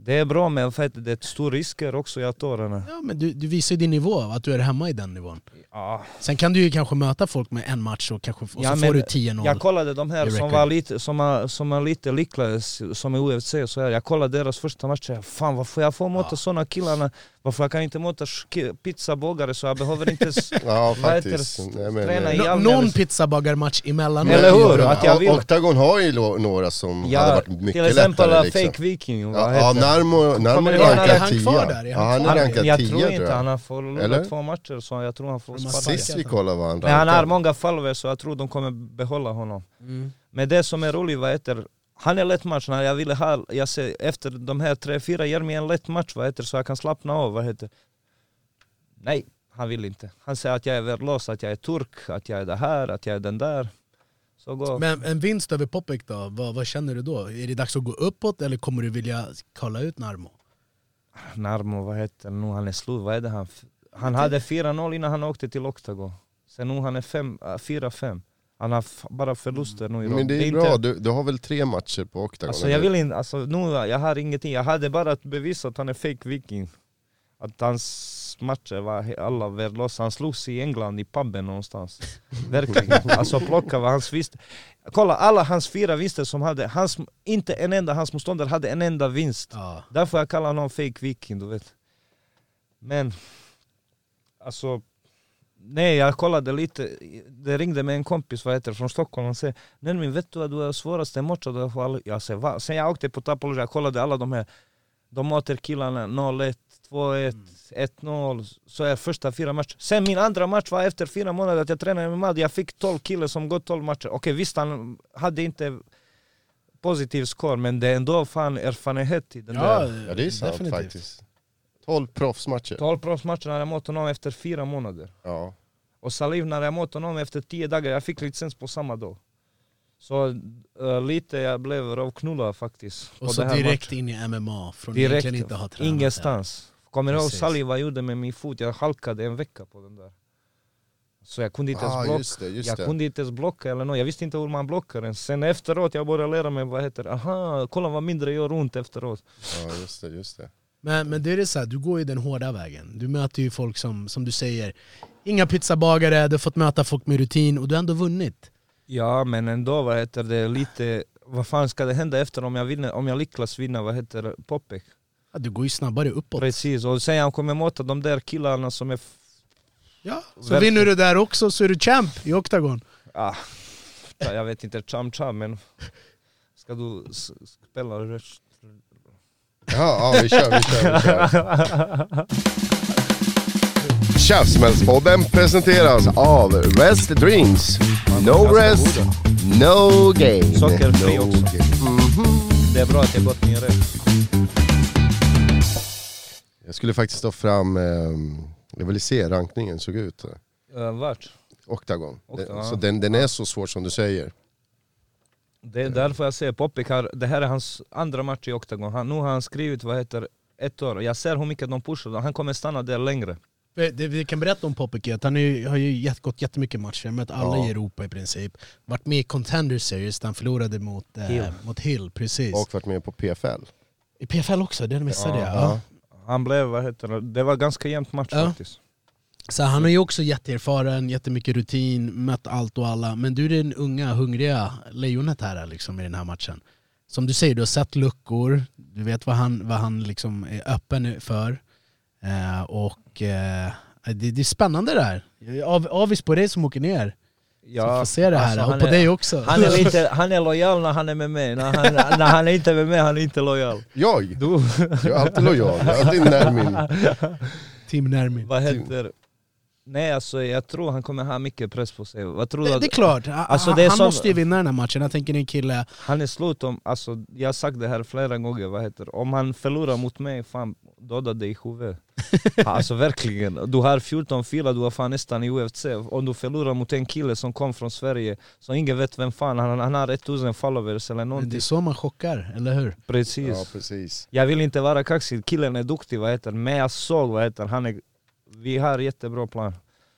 F: Det är bra men vad heter det är stor risker också jag tar den här.
D: Ja men du, du visar ju din nivå, att du är hemma i den nivån.
F: Ja.
D: Sen kan du ju kanske möta folk med en match och, kanske, och så
F: Ja,
D: får
F: men
D: du 10-0.
F: Jag kollade de här
D: Det
F: som
D: räcker.
F: var lite, som är, som är lite lyckligast, som är UFC och så här. Jag kollade deras första match och jag, fan varför jag får möta såna killarna? Varför jag kan inte möta sk- pizzabagare så jag behöver
E: [LAUGHS]
F: inte s-
E: Ja
F: vad heter
E: faktiskt.
F: det?
E: Nej, men,
F: Träna
E: eh,
F: i-
D: Nå-
F: jävla-
D: någon pizzabagarmatch emellanåt.
F: Eller hur? Att jag vill-
E: Octagon har ju lo- några som hade
F: ja,
E: varit mycket
F: till exempel
E: lättare. Liksom.
F: Fake Viking, vad
E: Ja,
F: heter
E: ja Narmo, Narmo
F: Kommer
E: är
F: ni ihåg när
E: rankad
D: han
E: 10.
D: kvar där? Är
E: Ja,
D: han
E: han är
D: kvar?
E: rankad 10
F: Jag tror
E: tror
F: inte
E: jag.
F: han har
E: Eller?
F: förlorat två matcher så jag tror han får
D: Sist
F: sparken.
E: Sist vi kollade var han
F: Men han har
E: rankad.
F: många fallor så jag tror de kommer behålla honom. Men det som är roligt, vad heter han är lätt match, när jag ville ha, jag ser, efter de här tre, fyra, ger mig en lätt match vad heter så jag kan slappna av, vad heter Nej, han vill inte. Han säger att jag är värdelös, att jag är turk, att jag är det här, att jag är den där. Så Så gå.
D: Men en vinst över Popek då, vad, vad känner du då? Är det dags att gå uppåt eller kommer du vilja kalla ut Narmo?
F: Narmo, vad heter han nu? Han är slut, vad är det han? Han hade 4-0 innan han åkte till Octagon. Sen nu han är fem- äh, 4-5. Han har f- bara förluster nu i
E: Men
F: rad.
E: det är
F: inte-
E: bra, du, du har väl tre matcher på Octagon?
F: Alltså jag vill inte, alltså nu, jag har ingenting. Jag hade bara att bevisa att han är fake viking. Att hans matcher var he- alla värdelösa. Han slogs i England i puben någonstans. Verkligen. Alltså plocka vad hans vinst. Kolla alla hans fyra vinster som hade, hans, inte en enda hans motståndare hade en enda vinst.
D: Ja.
F: Därför jag kallar honom fake viking, du vet. Men, alltså, nej jag kollade e lite, det ringde med en kompis vad heter det, från Stockholm, han säger Nermin vet du att du är svåraste matchen du har fått alla-" Jag säger va? Sen jag åkte på Tapologia, jag kollade alla de här, de möter killarna 0-1, 2-1, 1-0, så är första fyra matcher. Sen min andra match var efter fyra månader att jag tränade med Mad, jag fick 12 killar som gått 12 matcher. Okej visst han hade inte positiv score men det är ändå fan erfarenhet i den där.
E: Ja det är sant
D: definitivt.
E: faktiskt. 12 proffsmatcher.
F: 12 proffsmatcher när jag mött honom efter fyra månader.
E: Ja.
F: Och Saliv när jag mött honom efter 10 dagar, jag fick licens på samma dag. Så eh, lite jag blev rövknullad faktiskt. på
D: Och så
F: det här
D: direkt
F: matchen.
D: in i MMA från
F: direkt
D: egentligen inte ha tränat
F: ingenstans. Kommer du ihåg
D: Precis.
F: Saliv vad jag gjorde med min fot? Jag halkade en vecka på den där. Så jag kunde inte ens
E: Ah,
F: blocka.
E: just det, just
F: jag
E: det.
F: kunde inte ens blocka eller något. Jag visste inte hur man blockar ens. Sen efteråt jag började lära mig vad heter det. Aha, kolla vad mindre gör ont efteråt.
E: ja, just det, just det.
D: Men, men det är det så här, du går ju den hårda vägen. Du möter ju folk som, som du säger, inga pizzabagare, du har fått möta folk med rutin och du har ändå vunnit.
F: Ja men ändå, vad heter det, lite... Vad fan ska det hända efter om jag, vinner, om jag lyckas vinna, vad heter det, Popek?
D: Ja, du går ju snabbare uppåt.
F: Precis, och sen jag kommer möta de där killarna som är... f-
D: Ja, så
F: Verkligen.
D: vinner du där också så är du champ i Octagon.
F: Ah, jag vet inte, cham cham men... Ska du s- spela röst?
E: Ja, ja vi kör, vi kör, vi kör. Käftsmällspodden presenteras av Rest Dreams. No rest, no gain.
F: Sockerfri
E: no
F: också.
E: gain.
F: Det är bra att jag gått min röst.
E: Jag skulle faktiskt ta fram, ehm, jag ville se rankningen såg ut.
F: Uh, vart?
E: Octagon.
F: Octagon.
E: Så den, den är så svår som du säger.
F: Det är därför jag säger Popek, har, det här är hans andra match i Octagon. Han, nu har han skrivit, vad heter ett år. Jag ser hur mycket de pushar, han kommer stanna där längre.
D: Det det vi kan berätta om Popek är att han är, ju- har ju gett- gått jättemycket matcher, mött alla
E: Ja.
D: i Europa i princip. Varit med i Contender Series där han förlorade mot eh,
F: Hill.
D: Mot Hill precis.
E: Och varit med på PFL.
D: I PFL också, den missade
F: Ja,
D: jag.
E: ja.
D: Ja.
F: Han blev, vad heter det, det var ganska jämnt match
D: Ja.
F: faktiskt.
D: Så han är ju också jätteerfaren, jättemycket rutin, mött allt och alla. Men du är den unga, hungriga lejonet här liksom, i den här matchen. Som du säger, du har sett luckor, du vet vad han, vad han liksom är öppen för. Eh, och eh, det, det är spännande det här. Jag är av, avis på dig som åker ner. Ja, som får se det här,
F: alltså,
D: och på
F: han är-
D: dig också.
F: Han är,
D: [LAUGHS]
F: lite, han är lojal när han är med mig, när han, när han är inte med mig han är inte lojal.
E: Jag?
F: Du,
E: Jag är alltid lojal. Jag är alltid
F: [LAUGHS]
E: närmin.
D: Tim Nermin.
F: vad heter... Nej alltså jag tror han kommer ha mycket press på sig. Vad tror du
D: Det,
F: att-
D: det är klart, Ha-
F: Alltså, det är
D: han
F: som-
D: måste ju vinna den här matchen. Jag tänker det är en kille,
F: Han är slut om, alltså jag har sagt det här flera gånger, vad heter Om han förlorar mot mig, fan döda dig i huvudet. Alltså verkligen, du har 14 filer, du är fan nästan i UFC. Om du förlorar mot en kille som kom från Sverige, så ingen vet vem fan han Han har 1000 followers eller
D: det är
F: någonting.
D: så man chockar, eller hur?
F: Precis.
E: Ja, precis.
F: Jag vill inte vara kaxig, killen är duktig vad heter men jag såg vad heter han är, vi har jättebra plan.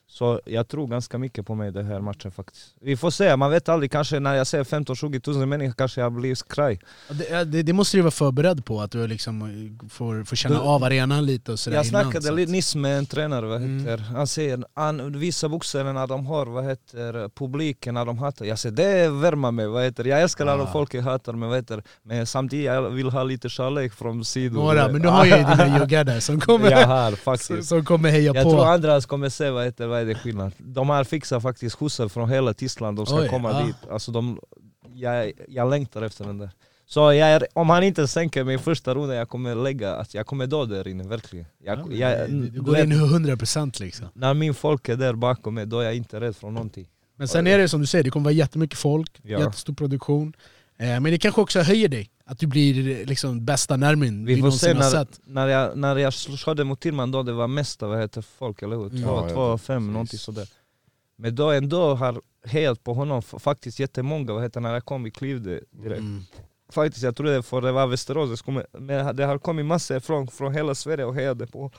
F: Så jag tror ganska mycket på mig i den här matchen faktiskt. Vi får se, man vet aldrig, kanske när jag ser 15-20 tusen människor kanske jag blir skraj.
D: Ja, Det, ja, det, det måste du vara förberedd på, att du liksom eh, får, får känna
F: Du-
D: av arenan lite och sådär
F: Jag
D: innan,
F: snackade
D: så
F: li-
D: att-
F: nyss med en tränare, vad
D: Mm.
F: heter han säger, han, vissa boxare när de har, vad heter publiken, när de hatar, jag säger det värmer mig, vad heter jag älskar när
D: Ah.
F: folk hatar mig, vad heter men samtidigt jag vill ha lite kärlek från sidor.
D: Några, men du har
F: [LAUGHS]
D: ju dina juggar där som [LAUGHS] kommer,
F: Jag har
D: som,
F: faktiskt.
D: som kommer heja
F: Jag
D: på.
F: tror andra kommer se vad, heter, vad är det skillnad. De här fixar faktiskt skjutsar från hela Tyskland, de ska
D: Oj, ah.
F: komma
D: ja.
F: dit. Alltså de, jag, jag längtar efter den där. Så jag är, om han inte sänker mig i första rundan, jag kommer lägga, alltså, jag kommer dö där inne, verkligen. Jag,
D: Ja, men
F: jag,
D: du, du
F: du
D: går
F: vet,
D: in 100% liksom.
F: När min folk är där bakom mig, då är jag inte rädd för någonting.
D: Men sen är det som du säger, det kommer vara jättemycket folk,
F: Ja.
D: jättestor produktion. Eh, men det kanske också höjer dig, att du blir eh, liksom bästa närmin vi,
F: Vi får se
D: någonsin har
F: när,
D: sett.
F: när jag, när
D: Mm.
F: jag sl- körde mot Tillman då, det var mesta vad heter folk, eller hur? Två,
E: Ja, ja,
F: två, fem,
E: precis.
F: någonting sådär. Men då ändå har helt på honom f- faktiskt jättemånga, vad heter han, jag kom i Klivde direkt.
D: Mm.
F: Faktiskt, jag trodde för det var Västerås, det, skulle, men det har kommit massor från, från hela Sverige och hejade på.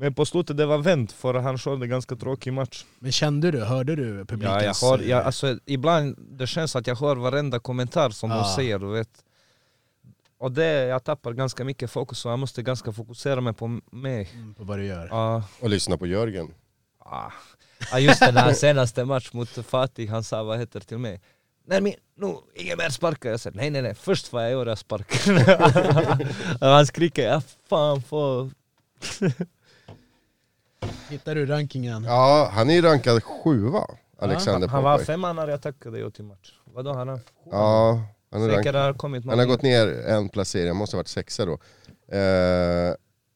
F: Men på slutet det var vänt, för han körde ganska tråkig match.
D: Men kände du, hörde du
F: Ja,
D: publikens...
F: jag hör, jag,
D: eh,
F: alltså, ibland det känns att jag hör varenda kommentar som
D: Ja.
F: de säger. Du vet. Och det, jag tappar ganska mycket fokus och jag måste ganska fokusera mig på mig.
D: mm, på vad du gör?
F: Ja.
E: Och lyssna på Jörgen.
F: Ah. Ah, just det, när han senaste match mot Fatih, han sa vad heter det till mig? Nej men nu, inget mer sparkar. Jag sa nej nej nej, först vad jag gör
E: [LAUGHS]
F: jag sparkar. Och han skriker, ja fan får...
D: Hittar du rankingen?
E: Ja, han är ju rankad sjua, Alexander
F: Han var
E: Popeye.
F: femma när jag tackade jag till match. Vadå han har?
E: Ja, han, är
F: Säkert
E: rankad.
F: har kommit någon...
E: han har gått ner en placering, han måste ha varit sexa då. Eh,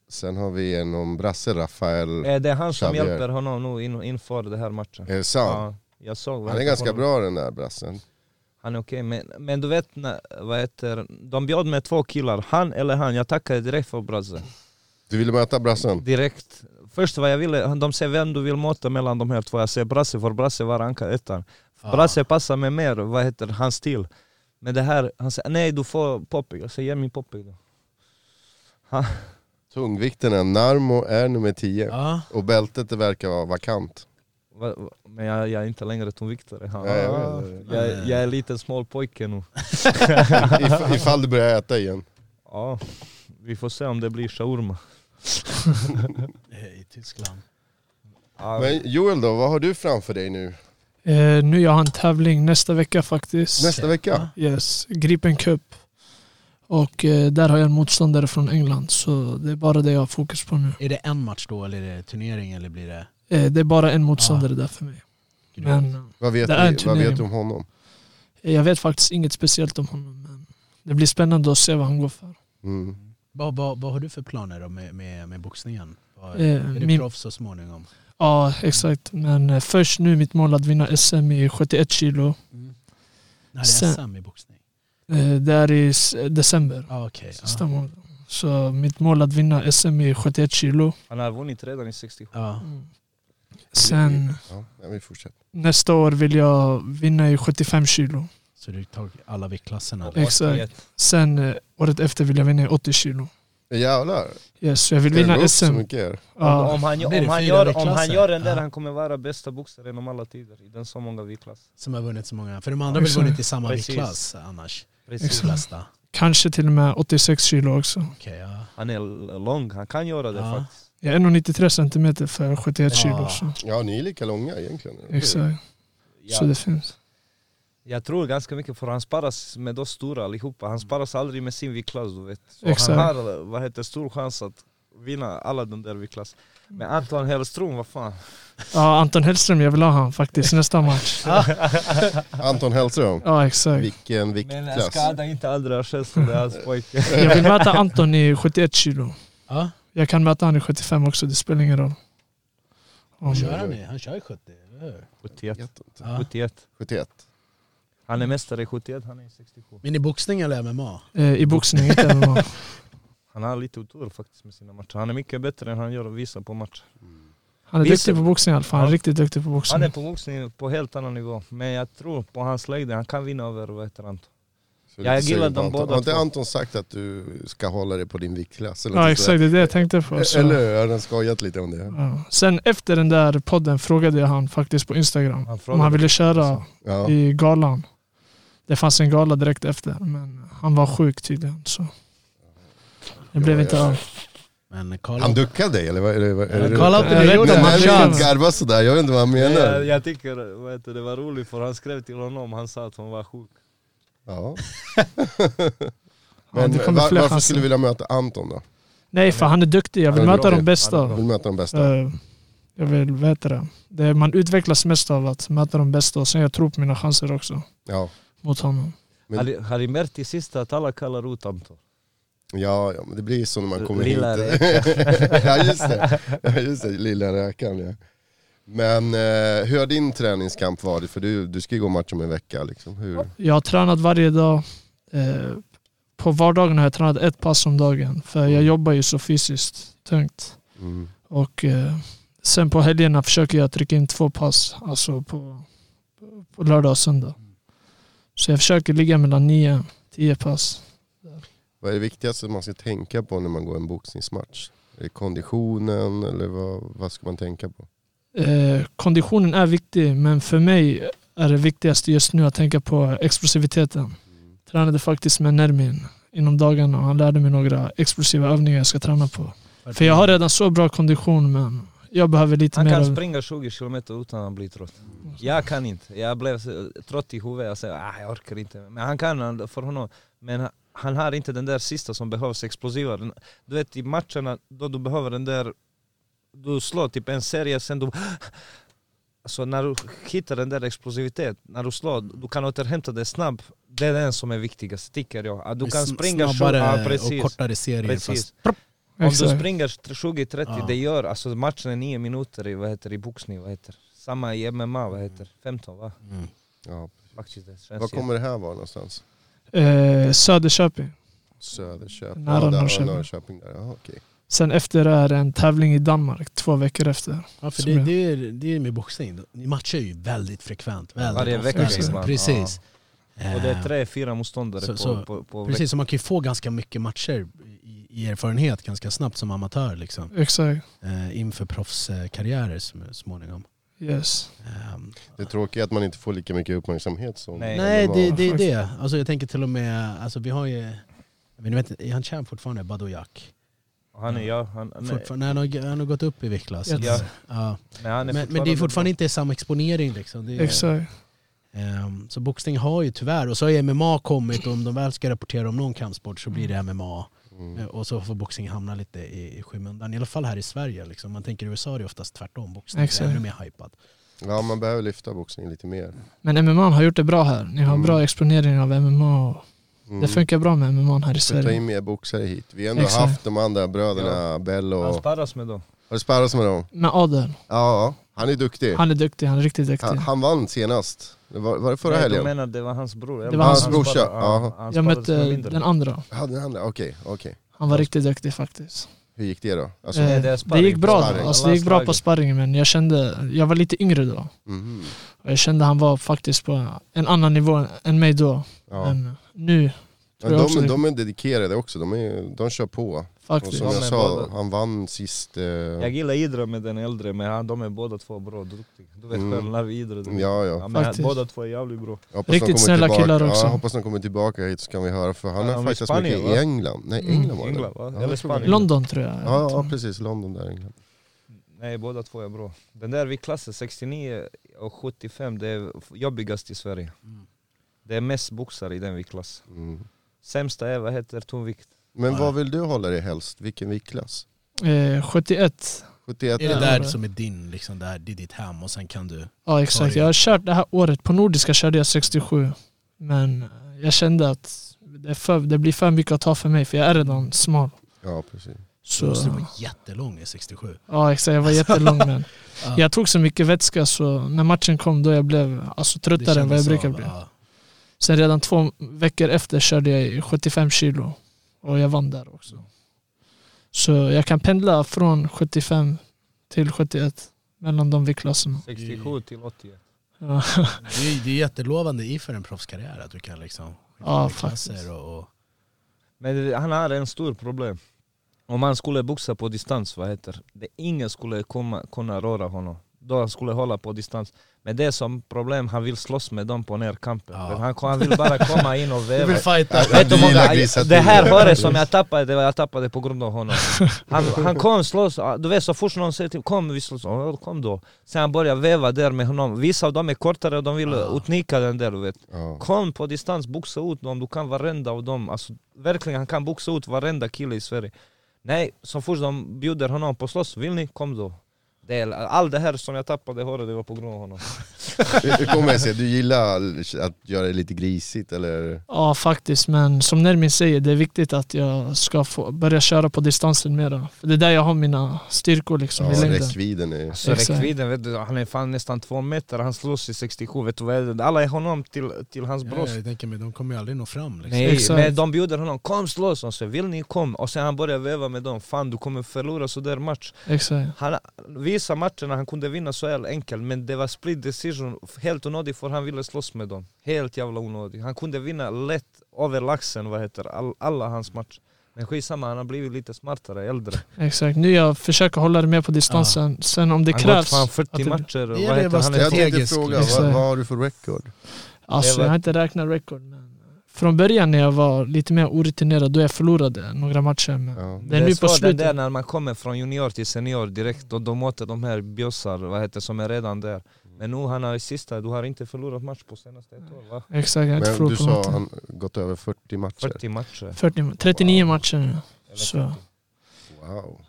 E: sen har vi en om brasse, Rafael.
F: Eh, Det är han som
E: Xavier.
F: hjälper honom nu in, inför den här matchen.
E: Är det sant?
F: Ja, jag såg
E: Han är
F: verkligen
E: ganska
F: honom.
E: bra den där brassen.
F: Han är okej, men, men du vet, när, vad heter, de bjöd med två killar, han eller han, jag tackade direkt för Brazze.
E: Du ville möta brassen?
F: Direkt. Först vad jag ville, de ser vem du vill möta mellan de här två, jag ser Brazze för Brazze var rankad ettan. Brazze passar mig mer, vad heter hans stil. Men det här, han säger nej du får Poppy, jag säger ge mig Poppy då.
E: Tungvikterna, Narmo är nummer 10.
D: Ja.
E: Och bältet det verkar vara
F: [LAUGHS]
E: vakant.
F: Va- va- Men jag, jag är inte längre tungviktare. Han,
E: Ja, jag
F: jag,
E: vet.
F: jag, jag är lite smal pojke nu.
E: If, ifall du börjar äta igen.
F: Ja, vi får se om det blir shawarma.
D: Eh, I Tyskland.
F: Ja,
E: Men Joel då, vad har du framför dig nu?
D: [LAUGHS]
G: Eh, nu jag har en tävling nästa vecka faktiskt.
E: Nästa vecka?
G: Yes, Gripen Cup. Och eh, där har jag en motståndare från England så det är bara det jag har fokus på nu.
D: Är det en match då eller är det turnering eller blir det...
G: Eh, det är bara en motståndare där för mig. Men
E: Vad vet,
G: Det är en
E: vi, vad vet du
G: turnering.
E: om honom?
G: eh, jag vet faktiskt inget speciellt om honom. Men det blir spännande att se vad han går för.
E: Mm.
D: Vad, vad, vad har du för planer då med, med, med boxningen? Vad,
G: Eh,
D: är du
G: min-
D: proffs så småningom?
G: Ja, exakt. Men eh, först nu mitt mål att vinna SM i 71 kilo.
F: Mm.
D: När är
G: Sen-
D: SM i boxning?
G: Eh, det är i s- december.
D: Ah, okay.
G: Sista mål. Så mitt mål att vinna SM i 71 kilo.
F: Han har vunnit redan i 67.
D: Ja.
G: Sen
E: Ja, nej, vi fortsätter.
G: nästa år vill jag vinna i 75 kilo.
D: Så du tar alla viktklasserna?
F: Och
D: då?
G: Exakt. Sen eh, året efter vill jag vinna i 80 kilo.
E: Jävlar,
G: Yes, så jag vill
E: ska det gå
G: vinna
E: upp så
G: SM.
E: mycket? här?
F: Om,
G: Ja,
F: om, han,
D: Blir det
F: om, han
D: fyra
F: gör, om
D: V-klasser?
F: han gör den där,
D: Ja.
F: han kommer vara bästa boxare genom alla tider i den så många V-klass.
D: Som har vunnit så många? För de andra har väl
G: Exakt.
D: vunnit i samma
F: Precis.
D: viktklass annars? De
F: Precis.
D: flesta?
G: kanske till och med 86 kilo också.
D: Okej, ja.
F: Han är l- lång, han kan göra det
D: Ja.
F: faktiskt.
G: Jag är 1,93 centimeter för 71
D: Ja.
G: kilo. Så.
E: Ja, ni är lika långa egentligen.
G: Exakt. Så
F: Jag,
G: det finns.
F: jag tror ganska mycket för han sparas med de stora allihopa, han sparas aldrig med sin V-klass du vet. Så
G: Mm. Exakt.
F: han har vad heter, stor chans att vinna alla de där V-klass. Men Anton Hellström, vad fan.
G: Ja, Anton Hellström, jag vill ha han faktiskt nästa match.
E: Anton Hellström,
G: Ja, exakt.
E: vilken
F: Men eh,
E: viktklass.
F: skada inte Andra Kjellström, det är hans [LAUGHS] pojke.
G: Jag vill möta Anton i 71 kilo.
D: ja.
G: Jag kan möta han i 75 också, det spelar ingen roll. Om,
D: Kör han i? Han kör i 70, eller hur?
F: 71.
D: Ja.
F: 71.
E: 71.
F: Han är mästare i 71, han är i 67.
D: Men i boxning eller MMA?
G: eh, I boxning, inte MMA.
F: Han har lite otur faktiskt med sina matcher. Han är mycket bättre än han gör och visar på match.
E: [LAUGHS]
G: Han är
F: Visst.
G: duktig på boxning i alla fall. Han är
F: Ja.
G: riktigt duktig på
F: Han är
G: boxning.
F: på boxning på helt annan nivå. Men jag tror på hans längd, han kan vinna över vad heter han?
E: Så
F: Jag
E: lite
F: gillar
E: sugen på
F: dem
E: Anton.
F: båda
E: Har inte
F: två.
E: Anton sagt att du ska hålla dig på din viktklass? Eller
G: Ja,
E: något sånt
G: exakt. Alltså. Det är det jag tänkte på.
E: där?
G: Så.
E: Eller hur? Har han skojat lite om det?
G: Ja. Sen efter den där podden frågade jag han faktiskt på Instagram
F: Han
G: om han ville köra
E: Ja.
G: i galan. Det fanns en gala direkt efter, men han var sjuk tydligen. Så. Det blev
E: ja,
G: inte
E: ja.
G: av.
D: Men kolla.
E: Han duckade dig eller? vad- eller vad-
D: Ja,
E: eller-
D: kolla upp
G: det där
E: Nej,
G: gjorde
E: men
G: han.
E: Han garvar sådär, jag vet inte vad han
F: Jag,
E: menar.
F: jag tycker vad heter det var roligt för han skrev till honom, han sa att han var sjuk.
E: Ja.
G: Ja,
E: Men
G: det kommer
E: var, varför
G: fler chanser.
E: skulle du vilja möta Anton då?
G: Nej, för han är duktig. Jag vill
E: Han är
G: möta
E: bra.
G: de bästa.
F: Han är
E: Vill möta de bästa?
G: Eh, Jag vill veta det. det. är- Man utvecklas mest av att möta de bästa och sen jag tror på mina chanser också
E: Ja.
G: mot honom.
E: Men-
F: Har, ni- har ni märkt i sista att alla kallar ut Anton?
E: Ja, ja, men det blir ju så när man kommer
F: Lilla
E: hit. [LAUGHS] ja, just det. ja, just det. Lilla räkan ja. Men eh, hur har din träningskamp varit? För du, du ska ju gå match om en vecka liksom. Hur?
G: Jag har tränat varje dag. Eh, På vardagen har jag tränat ett pass om dagen för jag jobbar ju så fysiskt tungt.
E: Mm.
G: Och eh, Sen på helgerna försöker jag trycka in två pass, alltså på, på lördag och söndag. Så jag försöker ligga mellan nio och tio pass.
E: Vad är det viktigaste man ska tänka på när man går en boxningsmatch? Är det konditionen eller vad, vad ska man tänka på?
G: Eh, konditionen är viktig, men för mig är det viktigaste just nu att tänka på explosiviteten.
F: Mm.
G: Tränade faktiskt med Nermin inom dagarna och han lärde mig några explosiva övningar jag ska träna på. För jag har redan så bra kondition, men jag behöver lite
F: Han
G: mer
F: kan
G: av...
F: springa 20 kilometer utan att bli trött. Jag kan inte. Jag blev så trött i huvudet. Jag säger ah, jag orkar inte. Men han kan han- för honom. Men han- han har inte den där sista som behövs, explosiva. Den- Du vet i matcherna då du behöver den där... Du slår typ en serie, sen du... [GASPS] Så när du hittar den där explosivitet, när du slår, du kan återhämta dig snabbt. Det är den som är viktigast, tycker jag. Att du kan
D: Sn-
F: springa tjugo-
D: snabbare
F: ja, precis.
D: och kortare serier.
F: Precis.
D: Fast,
F: Om du
G: Exakt.
F: springer 20-30,
D: Ja.
F: det gör, alltså matchen är 9 minuter i, vad heter det, i boxning, vad heter det? Samma i MMA, vad heter det? 15 va?
D: mm.
E: Ja.
F: Faktiskt, det
E: Var
F: känns
E: kommer det här vara någonstans?
G: Eh, Söderköping.
E: Söderköping?
G: Nära
E: Ja, där,
G: Norrköping.
E: Norrköping där. Ja, okej.
G: Sen efter är det en tävling i Danmark, två veckor efter.
D: Ja, för
G: Som
D: det,
G: jag.
D: det, är, det är med boxning, ni matchar ju väldigt frekvent. Väldigt
F: Varje
D: ofta,
F: vecka
D: liksom.
F: finns man.
D: Precis.
F: det. Och det är
D: Eh,
F: tre, fyra motståndare
D: Så-
F: på,
D: så-
F: på, på
D: Eh, Precis, så man kan ju få ganska mycket matcher i, i erfarenhet ganska snabbt som amatör liksom.
G: Exakt.
D: Eh, inför proffskarriärer så småningom.
G: Yes.
D: Ehm,
E: Det tråkiga är att man inte får lika mycket uppmärksamhet som...
F: Nej.
D: Nej, det, det är
G: faktiskt.
D: det. Alltså, jag tänker till och med, alltså, vi har ju, men vet, inte, är han champ fortfarande, Badojak?
F: veckan. Han är, ja, han, nej,
D: Fortfarande, han, har, han har gått upp i viktklass.
G: Ja.
D: Ja. Ja.
F: nej, han är
D: Men, men det är fortfarande inte samma exponering liksom. Det är,
G: Exakt.
D: ehm, så boxning har ju tyvärr, och så har ju MMA kommit och om de väl ska rapportera om någon kampsport så blir
G: Mm.
D: det MMA. Eh, Och så får boxning hamna lite i, i skymundan, i alla fall här i Sverige. Liksom. Man tänker i USA är det oftast tvärtom, boxning är
G: Exakt.
D: ännu mer hypat.
E: Ja, man behöver lyfta boxningen lite mer.
G: Men MMA har gjort det bra här. Ni
F: Mm.
G: har bra exponering av MMA. Och
E: Mm.
G: Det funkar bra med MMA här i
E: Ska ta
G: Sverige.
E: in mer boxare hit. Vi har ändå
G: Mm. Exakt.
E: haft de andra bröderna, Bell och...
F: Han sparras med dem.
E: Har du sparrat med dem?
G: Men Adel,
E: Ja, han är duktig.
G: han är duktig. Han är riktigt duktig.
E: Han, han vann senast. Det Var, var det förra
F: Nej,
E: helgen?
F: du menar det var hans bror?
G: Det var hans
E: brorsa, ja.
F: Han
G: Jag
F: sparrades med
G: mötte
F: mindre.
G: den andra.
E: Hade han det? Okej, okej.
G: Han var riktigt duktig faktiskt.
E: Hur gick det då? Alltså,
G: Eh,
F: det är
G: det
F: sparring.
G: gick bra,
E: Sparring.
G: alltså, det gick bra på sparringen men jag kände, jag var lite yngre då.
E: mhm.
G: Och jag kände han var faktiskt på en annan nivå än mig då.
E: ja.
G: Men nu,
E: Men
G: jag också
E: de,
G: det-
E: de är dedikerade också, de, är, de kör på. Och
G: faktiskt.
E: som
F: De
E: jag
F: är
E: sa,
F: båda.
E: han vann sist. Eh,
F: Jag gillar Idre med den äldre, men han, de är båda två bra, duktiga. Du vet
E: Mm.
F: själv när vi idrottar.
E: ja, ja.
F: Ja, men
G: Faktiskt.
F: båda två är jävligt bra.
E: Jag hoppas
G: Riktigt
E: de kommer
G: snälla
E: tillbaka.
G: killar också.
E: Ja, jag hoppas de kommer tillbaka hit så kan vi höra, för han
F: Ja,
E: har
F: de är i
E: fightats
F: Spanien,
E: mycket i
F: va?
E: England. Nej,
G: Mm.
E: England var det.
F: England, va?
E: Ja,
F: Eller
E: jag tror det.
F: Spanien.
G: London tror jag.
E: Ja, ja, precis. London där, England.
F: Nej, båda två är bra. Den där vid klassen 69 och 75, det är f- jobbigast i Sverige. Det är mest boxare i den viktklassen.
E: Mm.
F: Sämsta är, vad heter tonvikt?
E: Men vad vill du hålla dig helst? Vilken viktklass?
G: Eh, 71.
E: 71?
D: Är det
G: Ja.
D: där som är din, liksom, där, det är ditt hem och sen kan du...
G: Ja exakt,
D: Sorry.
G: jag har kört det här året, på Nordiska körde jag 67. Men jag kände att det, är för, det blir för mycket att ta för mig för jag är redan smal.
E: Ja, precis.
D: Så
G: Så,
D: måste du vara jättelång i 67.
G: ja exakt, jag var jättelång men
D: Ja.
G: jag tog så mycket vätska så när matchen kom då jag blev alltså, tröttare än vad jag
D: kändes
G: brukar
D: av,
G: bli.
D: ja.
G: Sen redan två veckor efter körde jag i 75 kilo och jag vann där också. Så jag kan pendla från 75 till 71 mellan de viktklasserna.
F: 67 till 80.
G: Ja,
D: Det är, det är jättelovande i för en proffskarriär att du kan liksom
G: Ja,
D: skifta klasser
G: faktiskt.
D: och, och
F: Men det- han har en stor problem. Om han skulle boxa på distans, vad heter det? Ingen skulle komma, kunna röra honom. Då han skulle hålla på distans. Men det är som problem, han vill slåss med dem på närkampen.
D: Ja.
F: Men Han, han vill bara komma in och väva.
D: fighta.
F: Vet du hur
E: Dina
F: många,
E: grisar
F: det här
E: till.
F: håret som jag tappade, det var jag tappade på grund av honom. Han, han kom slåss, du vet så fort någon säger till kom vi slåss, "Ja, kom då. Sen han börjar veva där med honom. Vissa av dem är kortare och de vill
E: Ah.
F: utnyttja den där du vet.
E: Ja.
F: Kom på distans, boxa ut dem, du kan varenda av dem. Alltså, verkligen, han kan boxa ut varenda kille i Sverige. Nej, så fort de bjuder honom på slåss, vill ni? Kom då. Det är, allt det här som jag tappade håret, det var på grund av honom.
E: Hur hur kommer det sig? Du gillar att göra det lite grisigt eller?
G: ja faktiskt, men som Nermin säger, det är viktigt att jag ska få börja köra på distansen mera. För det är där jag har mina styrkor liksom
E: Ja,
G: i längden.
E: räckvidden är...
F: Så
G: Exakt.
F: räckvidden, vet du, han är fan nästan två meter, han slåss i 67, vet du vad är det? Alla är honom till, till hans
D: Ja,
F: bröst.
D: jag tänker mig, de kommer ju aldrig nå fram. Liksom.
F: Nej,
G: Exakt.
F: men de bjuder honom, kom slåss! Och så vill ni kom? Och sen han börjar veva med dem, fan du kommer förlora sådär match.
G: Exakt.
F: Han, vi, vissa matcherna han kunde vinna så jävla enkelt, men det var split decision, helt onödigt för han ville slåss med dem. Helt jävla onödigt. Han kunde vinna lätt över laxen, vad heter det, all, alla hans matcher. Men skitsamma, han har blivit lite smartare, äldre.
G: Exakt, nu jag försöker hålla det mer på distansen. Sen om det
F: Han har gått
G: krävs...
F: fan 40
G: att det-
F: matcher, och
D: det
F: vad
D: är
F: heter
D: vad
F: han?
E: Jag
F: Är,
E: tänkte
D: Strategisk,
E: fråga,
G: liksom.
E: vad, vad har du för record?
G: Alltså
F: Det var-
G: jag har inte räknat rekord men eh, från början när jag var lite mer orutinerad då jag förlorade några matcher men
E: Ja.
G: det är nu på
F: så det där
G: slutet.
F: när man kommer från junior till senior direkt och de möter de här bjössar, vad heter det, som är redan där. Men nu han har i sista, du har inte förlorat match på senaste ett år va?
G: Exakt, jag har inte
E: Men du
G: förlorat på
E: sa
G: någonting.
E: han gått över 40 matcher.
F: 40 matcher.
G: 40, 39 matcher nu. Så
E: Wow.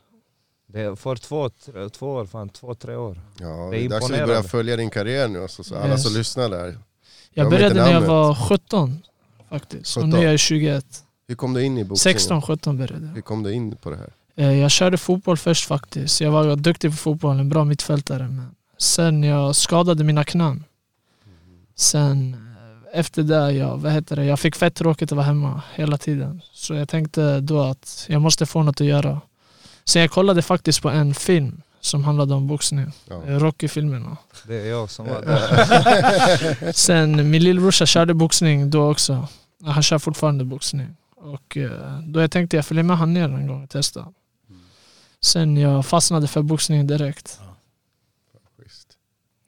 F: Det är för två, tre- två år, fan två, tre år.
E: Ja,
F: Det
E: det
F: är
E: är dags att du
F: imponerande.
E: börjar följa din karriär nu. Alltså, så alla
G: Yes.
E: som lyssnar där. Jag
G: jag
E: vet
G: började
E: inte
G: när jag
E: namnet.
G: var 17 faktiskt och nu
E: 17.
G: är jag 21.
E: Hur kom du in i boxning?
G: 16, 17 började jag.
E: Hur kom du in på det här?
G: Eh, Jag körde fotboll först faktiskt. Jag var duktig på fotboll, en bra mittfältare. Men sen jag skadade mina knän. Sen eh, efter det, jag, vad heter det, jag fick fett tråkigt att vara hemma hela tiden. Så jag tänkte då att jag måste få något att göra. Sen jag kollade faktiskt på en film som handlade om boxning.
E: Ja.
G: Eh, Rocky-filmerna.
F: Det är jag som var där.
G: Sen min lillbrorsa körde boxning då också. Han kör fortfarande boxning. Och eh, då jag tänkte jag följer med han ner en gång och testa. Sen jag fastnade för boxning direkt.
E: Schysst.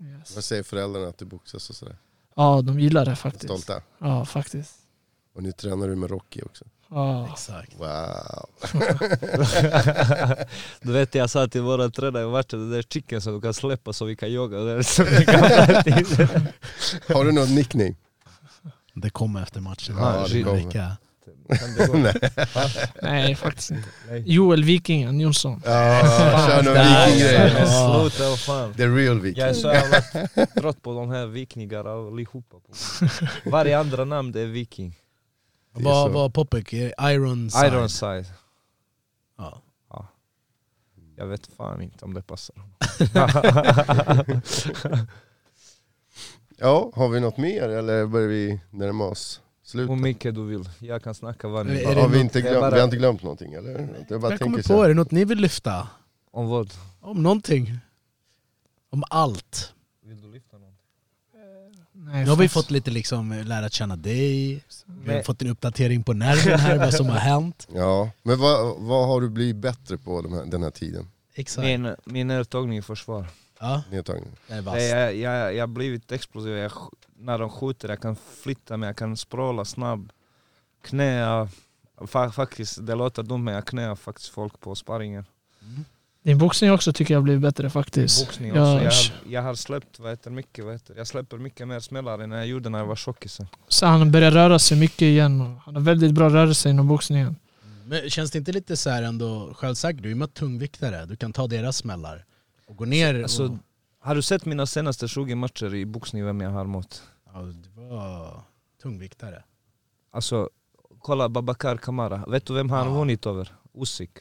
G: Yes.
E: Vad säger föräldrarna att du boxas och sådär?
G: Ja, de gillar det faktiskt.
E: Stolta?
G: Ja, faktiskt.
E: Och nu tränar du med Rocky också.
G: Ja.
D: Exakt.
E: Wow.
F: [LAUGHS] du vet jag sa till våra tränare i matchen, det där chicken som du kan släppa så vi kan jogga. där, så vi [LAUGHS] kan-
E: Har du någon nickname?
D: Det kommer efter matchen.
E: Ja,
D: Om
E: det
D: en
E: kommer.
D: vecka.
F: Kan det gå?
D: [LAUGHS]
G: Nej, faktiskt inte.
F: Nej.
G: Joel Vikingen Jonsson.
E: [LAUGHS] Ja, kör någon
F: Nej,
E: vikinggrej.
F: Sluta, vad fan.
E: The real
F: Jag är
E: viking.
F: så jävla trött på de här vikningar allihopa. Varje andra namn det är viking.
E: Det är
D: Vad
E: så.
D: var Popek? Ironside?
F: Ironside.
D: Ja.
F: Jag vet fan inte om det passar.
E: Ja, har vi något mer eller börjar vi närma oss
F: Hur
E: slutet?
F: mycket du vill. Jag kan snacka vad
D: Är
F: ni
D: det
E: Har vi,
D: något-
E: inte
F: det är
E: glömt,
F: bara-
E: vi har inte glömt någonting eller? Jag bara
D: Jag kommer
E: tänker
D: på,
E: så
D: är
E: här.
D: det något ni vill lyfta?
F: Om vad?
D: Om någonting? Om allt?
F: Vill du lyfta någon?
G: Nej,
D: Nu har vi
G: faktiskt.
D: fått lite liksom lära känna dig, vi har
F: Men-
D: fått en uppdatering på nerven här, vad
F: [LAUGHS]
D: som har hänt.
E: Ja, men vad, vad har du blivit bättre på de här, den här tiden?
D: Exakt.
F: Min, min nedtagning i försvar.
D: Ja,
E: Nedtagningen.
D: det är
F: Det,
D: vasst.
F: jag, jag, jag har blivit explosiv. Jag, sk- när de skjuter, jag kan flytta mig, jag kan språla snabb. Knä, jag- fa, faktiskt, det låter dumt men jag knäar faktiskt folk på sparringen.
G: Din boxning också tycker jag blev bättre faktiskt.
F: Boxning också.
G: jag,
F: Jag, har- jag har släppt, vad heter det, mycket, vad heter det, jag släpper mycket mer smällar än jag gjorde när jag var tjockis.
G: Så han börjar röra sig mycket igen. och Han har väldigt bra rörelse inom boxningen.
D: Men känns det inte lite så här ändå självsäkert? Du är ju med tungviktare, du kan ta deras smällar och gå ner
F: Alltså,
D: och...
F: Har du sett mina senaste 20 matcher i boxning, vem jag har mot?
D: Ja, du var tungviktare.
F: Alltså, kolla Babakar Kamara. Vet du vem han
D: Ja.
F: vunnit över? Usyk.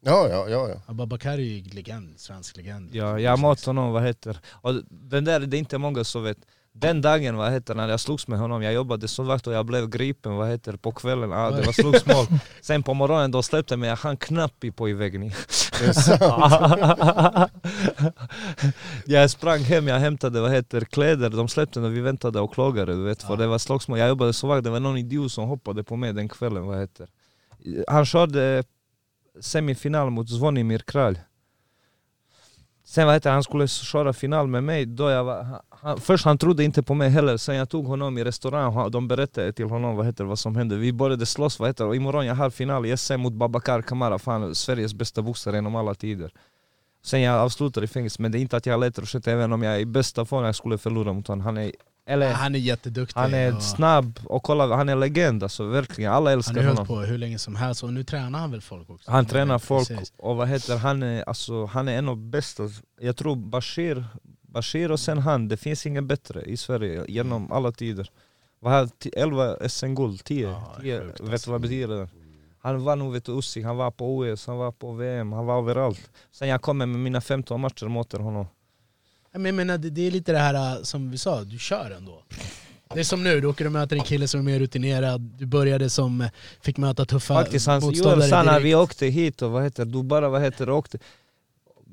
E: Ja, ja, ja. ja.
D: Ababakar är ju legend, svensk legend.
F: Ja, jag har mött honom, vad heter och Den där, det är inte många som vet. Den dagen, vad heter när jag slogs med honom, jag jobbade som vakt och jag blev gripen, vad heter på kvällen, ah, det var slagsmål. Sen på morgonen, då släppte mig, jag hann knappt i på i vägen.
E: Det är sant.
F: [LAUGHS] jag sprang hem, jag hämtade vad heter, kläder, de släppte när vi väntade och klagade du vet, för det var slagsmål. Jag jobbade så vakt, det var någon idiot som hoppade på mig den kvällen, vad heter Han körde eh, semifinal mot Zvonimir Kralj. Sen vad heter han skulle köra final med mig, då jag var, han- han, först han trodde inte på mig heller, sen jag tog honom i restaurang och de berättade till honom vad heter vad som hände. Vi började slåss, vad heter och imorgon jag har final i SM mot Babakar Kamara, fan Sveriges bästa boxare genom alla tider. Sen jag avslutar i fängelse, men det är inte att jag letar och skjuter, även om jag är i bästa form, jag skulle förlora mot honom. Han är, eller,
D: Han är jätteduktig.
F: han är
D: och
F: snabb och kolla, han är legend alltså, verkligen. Alla
D: han
F: älskar
D: har ju
F: honom.
D: hållit på hur länge som helst och nu tränar han väl folk också?
F: Han tränar folk
D: Precis.
F: och vad heter han, är, alltså, han är en av bästa, jag tror Bashir, Bashir och sen han, det finns ingen bättre i Sverige
D: Mm.
F: genom alla tider. Vad har 11 SM-guld, 10,
D: Ja, det är
F: 10
D: sjukt,
F: vet du
D: alltså.
F: vad betyder det? Han var nog vet du, Usyk, han var på OS, han var på VM, han var överallt. Sen jag kommer med mina 15 matcher mot honom.
D: Nej, Men jag menar, det, det är lite det här äh, som vi sa, du kör ändå. Det är som nu, du åker och möter en kille som är mer rutinerad, du började som, eh, fick möta tuffa
F: Faktiskt, han, Joel
D: motståndare
F: sa när
D: direkt.
F: vi åkte hit och vad heter du bara vad heter det, åkte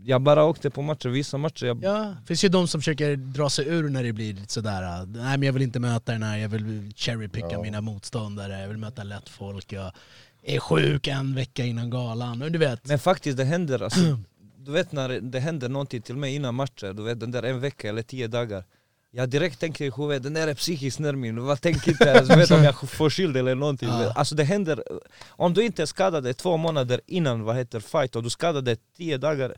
F: jag bara åkte på matcher, vissa matcher jag
D: Ja, finns ju de som försöker dra sig ur när det blir sådär, äh, nej men jag vill inte möta den här, jag vill cherrypicka mina motståndare, jag vill möta lätt folk, jag är sjuk en vecka innan galan, och du vet.
F: Men faktiskt det händer alltså, du vet när det händer någonting till mig innan matcher, du vet den där en vecka eller tio dagar jag direkt tänker i huvudet, den där är psykisk nermin, vad tänker jag? Alltså, vet om jag får skyld eller någonting
D: Ja.
F: Alltså det händer, om du inte är skadad det två månader innan vad heter fight och du skadade tio dagar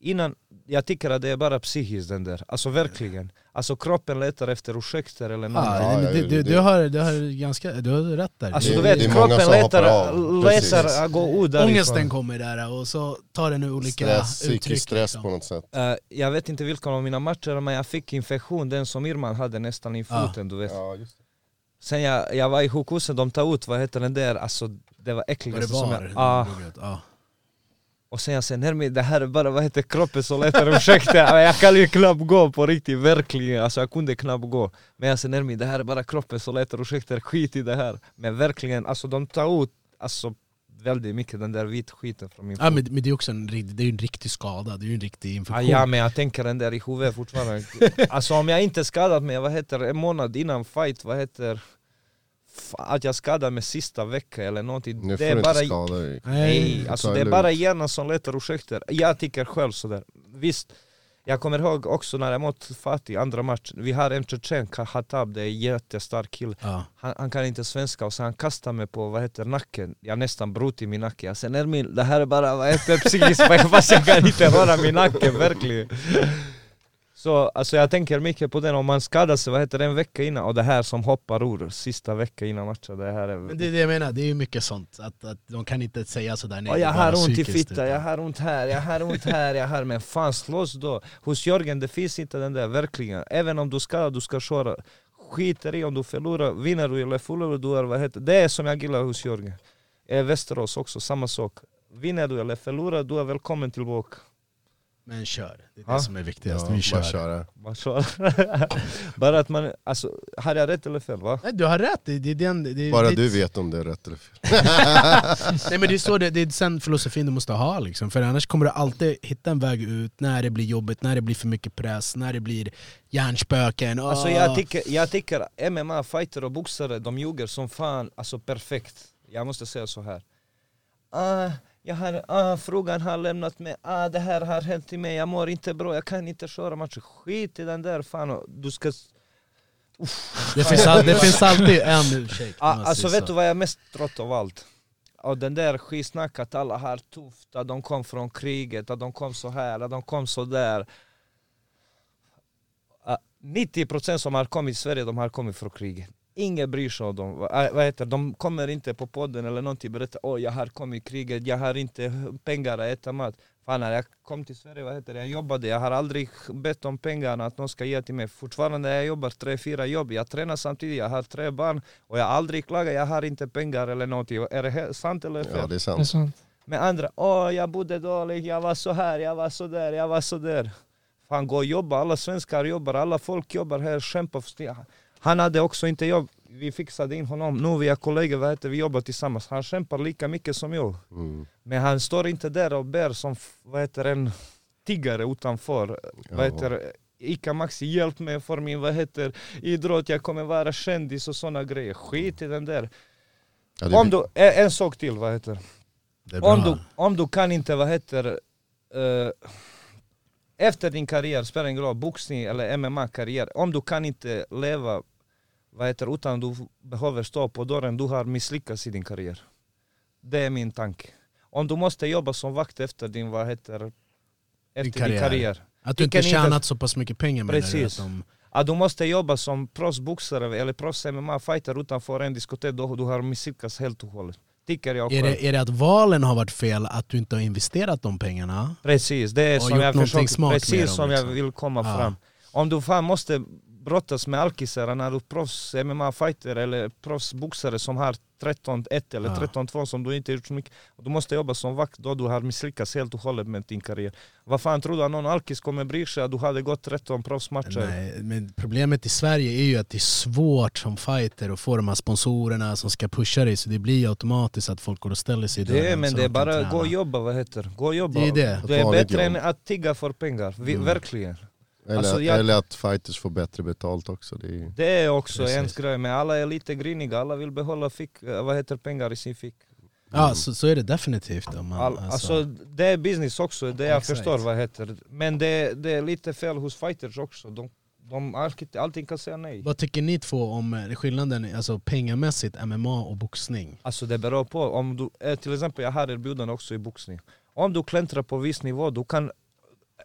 F: innan Jag tycker att det är bara psykiskt den där, alltså verkligen Alltså kroppen letar efter ursäkter eller någonting
D: Ja,
E: Ja,
D: men
E: ja,
D: du,
E: det-
D: du,
E: det-
D: du, har, du, har ganska, du har rätt där.
F: Alltså
E: Det-
F: du
E: det är
F: vet,
E: många
F: kroppen
E: som hoppar
F: letar,
E: av. Precis.
F: letar att gå ut därifrån
D: Ångesten kommer där och så tar den olika
E: Stress,
D: uttryck.
E: psykisk stress
D: liksom.
E: på något sätt.
F: Eh, jag vet inte vilken av mina matcher, men jag fick infektion, den som Irman hade nästan i
D: Ah. Ja.
F: foten, du vet.
E: Ja, just det.
F: Sen jag, jag var i sjukhuset, de tar ut, vad heter den där, alltså det var
D: Var liksom. det
F: äckligaste som
D: var?
F: jag... Ah.
D: Ja.
F: Och sen jag säger Nermi, det här är bara, vad heter kroppen som letar, ursäkta, [LAUGHS] jag kan ju knappt gå på riktigt, verkligen, alltså jag kunde knappt gå. Men jag säger Nermi, det här är bara kroppen som letar, ursäkta, skit i det här. Men verkligen, alltså de tar ut, alltså väldigt mycket den där vita skiten från min
D: Ja, men, men det är också en, rikt- det är ju en riktig skada, det är ju en riktig
F: Ah,
D: infektion.
F: ja men jag tänker den där i huvudet fortfarande. [LAUGHS] alltså om jag inte skadat mig, vad heter det, en månad innan fight, vad heter F- att jag skadade mig sista veckan eller någonting.
E: Nu
F: det
E: får
F: är
E: du inte
F: bara,
E: skada dig.
F: nej, alltså
E: Ta
F: det
E: det
F: är bara hjärnan som letar ursäkter. Jag tycker själv sådär. Visst, jag kommer ihåg också när jag mot Fatih andra matchen, vi har en tjetjen, Ka- Hatab, det är en jättestark kille.
D: Ja.
F: Han, han kan inte svenska och så han kastar mig på, vad heter nacken? Jag nästan brutit min nacke. Jag säger Ermin, det här är bara, vad
D: [LAUGHS]
F: heter psykisk fast jag kan inte röra min nacke, verkligen. Så alltså jag tänker mycket på den, om man skadar sig, vad heter det, en vecka innan? Och det här som hoppar ur sista veckan innan matchen, det här
D: Men
F: är...
D: det är det jag menar, det är ju mycket sånt. Att, att de kan inte säga sådär, nej
F: Och
D: det
F: jag
D: är bara
F: Ah, har ont i
D: psykiskt,
F: fitta,
D: utan-
F: jag har ont här, jag har ont här, jag har... Men fan slåss då! Hos Jörgen det finns inte den där, verkligen. Även om du ska, du ska köra. Skiter i om du förlorar, vinner du eller förlorar du, eller vad heter det? är som jag gillar hos Jörgen. Eh, Västerås också, samma sak. Vinner du eller förlorar, du är välkommen tillbaka.
D: Men kör, det är
F: Ja.
D: det som är viktigast.
E: Ja,
D: vi
E: bara
D: kör.
E: köra.
F: Man kör. [LAUGHS] Bara att man, alltså, har jag rätt eller fel va?
D: Nej, du har rätt, det, det, är den- det, det,
E: Bara
D: det,
E: du vet om det är rätt eller fel.
D: Nej men det är så det, det är sen filosofin du måste ha liksom. För annars kommer du alltid hitta en väg ut när det blir jobbigt, när det blir för mycket press, när det blir hjärnspöken. Åh.
F: Alltså jag tycker, jag tycker MMA-fighter och boxare, de ljuger som fan, alltså perfekt. Jag måste säga så här. Ah, jag har, ah, frågan har lämnat mig, ah, det här har hänt till mig, jag mår inte bra, jag kan inte köra matchen. Skit i den där fan, du ska...
D: det, finns all, det finns alltid en ursäkt.
F: Ah,
D: om man
F: alltså
D: säger
F: vet
D: så.
F: du vad jag är mest trött av allt? Och den där skitsnack att alla har tufft, att de kom från kriget, att de kom så här, att de kom så där. Ah, 90% som har kommit till Sverige, de har kommit från kriget. Ingen bryr sig om dem. Ah, Vad heter, det? de kommer inte på podden eller någonting berätta åh jag har kommit i kriget, jag har inte pengar att äta mat. Fan när jag kom till Sverige, vad heter det, jag jobbade, jag har aldrig bett om pengarna att någon ska ge till mig. Fortfarande jag jobbar tre, fyra jobb, jag tränar samtidigt, jag har tre barn och jag har aldrig klagat, jag har inte pengar eller någonting. Är det he- sant eller fel?
E: Ja, det är
G: Det är
E: sant.
G: sant.
F: Men andra, åh jag bodde dåligt, jag var så här, jag var så där, jag var så där. Fan gå och jobba, alla svenskar jobbar, alla folk jobbar här, kämpa för sin- Han hade också inte jobb, vi fixade in honom, nu vi är kollegor, vad heter, vi jobbar tillsammans. Han kämpar lika mycket som jag.
E: Mm.
F: Men han står inte där och bär som, f- vad heter en tiggare utanför. Vad heter Ica Maxi, hjälp mig för min, vad heter idrott, jag kommer vara kändis och sådana grejer. Skit i den där.
E: Ja, det är
F: Om du, en, en sak till, vad heter
D: Det är bra.
F: om du, om du kan inte, vad heter eh, Efter din karriär, spelar ingen roll, boxning eller MMA-karriär Om du kan inte leva, vad heter utan du behöver stå på dörren, du har misslyckats i din karriär Det är min tanke Om du måste jobba som vakt efter din, vad heter Efter din
D: karriär.
F: karriär
D: Att du inte
F: vilken inte-
D: tjänat så pass mycket pengar menar du? Att
F: Precis.
D: de,
F: att du måste jobba som proffsboxare eller proffs MMA-fighter utanför en diskotek, då du har misslyckats helt och hållet Tycker jag
D: är,
F: själv.
D: det, är det att valen har varit fel, att du inte har investerat de pengarna?
F: Precis, det är
D: Och
F: som
D: gjort
F: jag
D: någonting
F: försöker,
D: smart med
F: precis
D: dem,
F: som jag
D: liksom.
F: vill komma
D: Ja.
F: fram. Om du fan måste brottas med alkisar när du är proffs MMA-fighter eller proffsboxare som har 13-1 eller
D: Ja.
F: 13-2 som du inte gjort så mycket. Du måste jobba som vakt då du har misslyckats helt och hållet med din karriär. Vad fan tror du att någon alkis kommer bry sig att du hade gått 13 proffsmatcher?
D: Nej, men problemet i Sverige är ju att det är svårt som fighter att få de här sponsorerna som ska pusha dig så det blir automatiskt att folk går och ställer sig i
F: Det är,
D: dörren
F: men
D: så
F: det är
D: de kan
F: bara
D: träna.
F: gå och jobba, vad heter Gå och jobba.
D: Det är det. Mm.
F: det är
E: Ta
F: bättre
E: ett jobb.
F: än att tigga för pengar, Vi, verkligen.
E: Eller,
F: Alltså, jag-
E: eller att fighters får bättre betalt också. Det är...
F: Det är också
D: Precis.
F: en grej, men alla är lite griniga, alla vill behålla fick, eh, vad heter pengar i sin fick.
D: Ja, så, så är det definitivt. Om man,
F: All,
D: alltså,
F: alltså, det är business också, det jag
D: Exakt.
F: förstår vad heter. Men det, det är lite fel hos fighters också, de, de alltid, alltid kan säga nej.
D: Vad tycker ni två om eh, skillnaden alltså, pengamässigt, MMA och boxning?
F: Alltså det beror på, om du, eh, till exempel jag har erbjudande också i boxning. Om du klättrar på viss nivå, du kan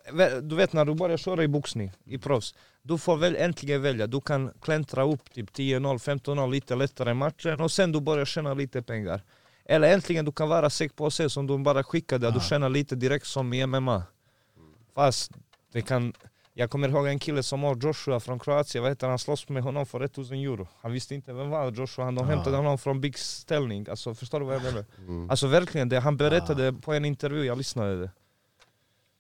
F: Vä- du vet när du börjar köra i boxning, i proffs, du får väl äntligen välja. Du kan klättra upp typ 10-0, 15-0, lite lättare matcher och sen du börjar tjäna lite pengar. Eller äntligen du kan vara säker på sig som de bara skickade, att du tjänar lite direkt som i MMA. Fast det kan... Jag kommer ihåg en kille som var Joshua från Kroatien, vad heter han, slåss med honom för 1000 euro. Han visste inte vem var Joshua, han de hämtade honom från Big ställning. Alltså förstår du vad jag menar? Alltså verkligen, det, han berättade
G: Ah.
F: på en intervju, jag lyssnade. det.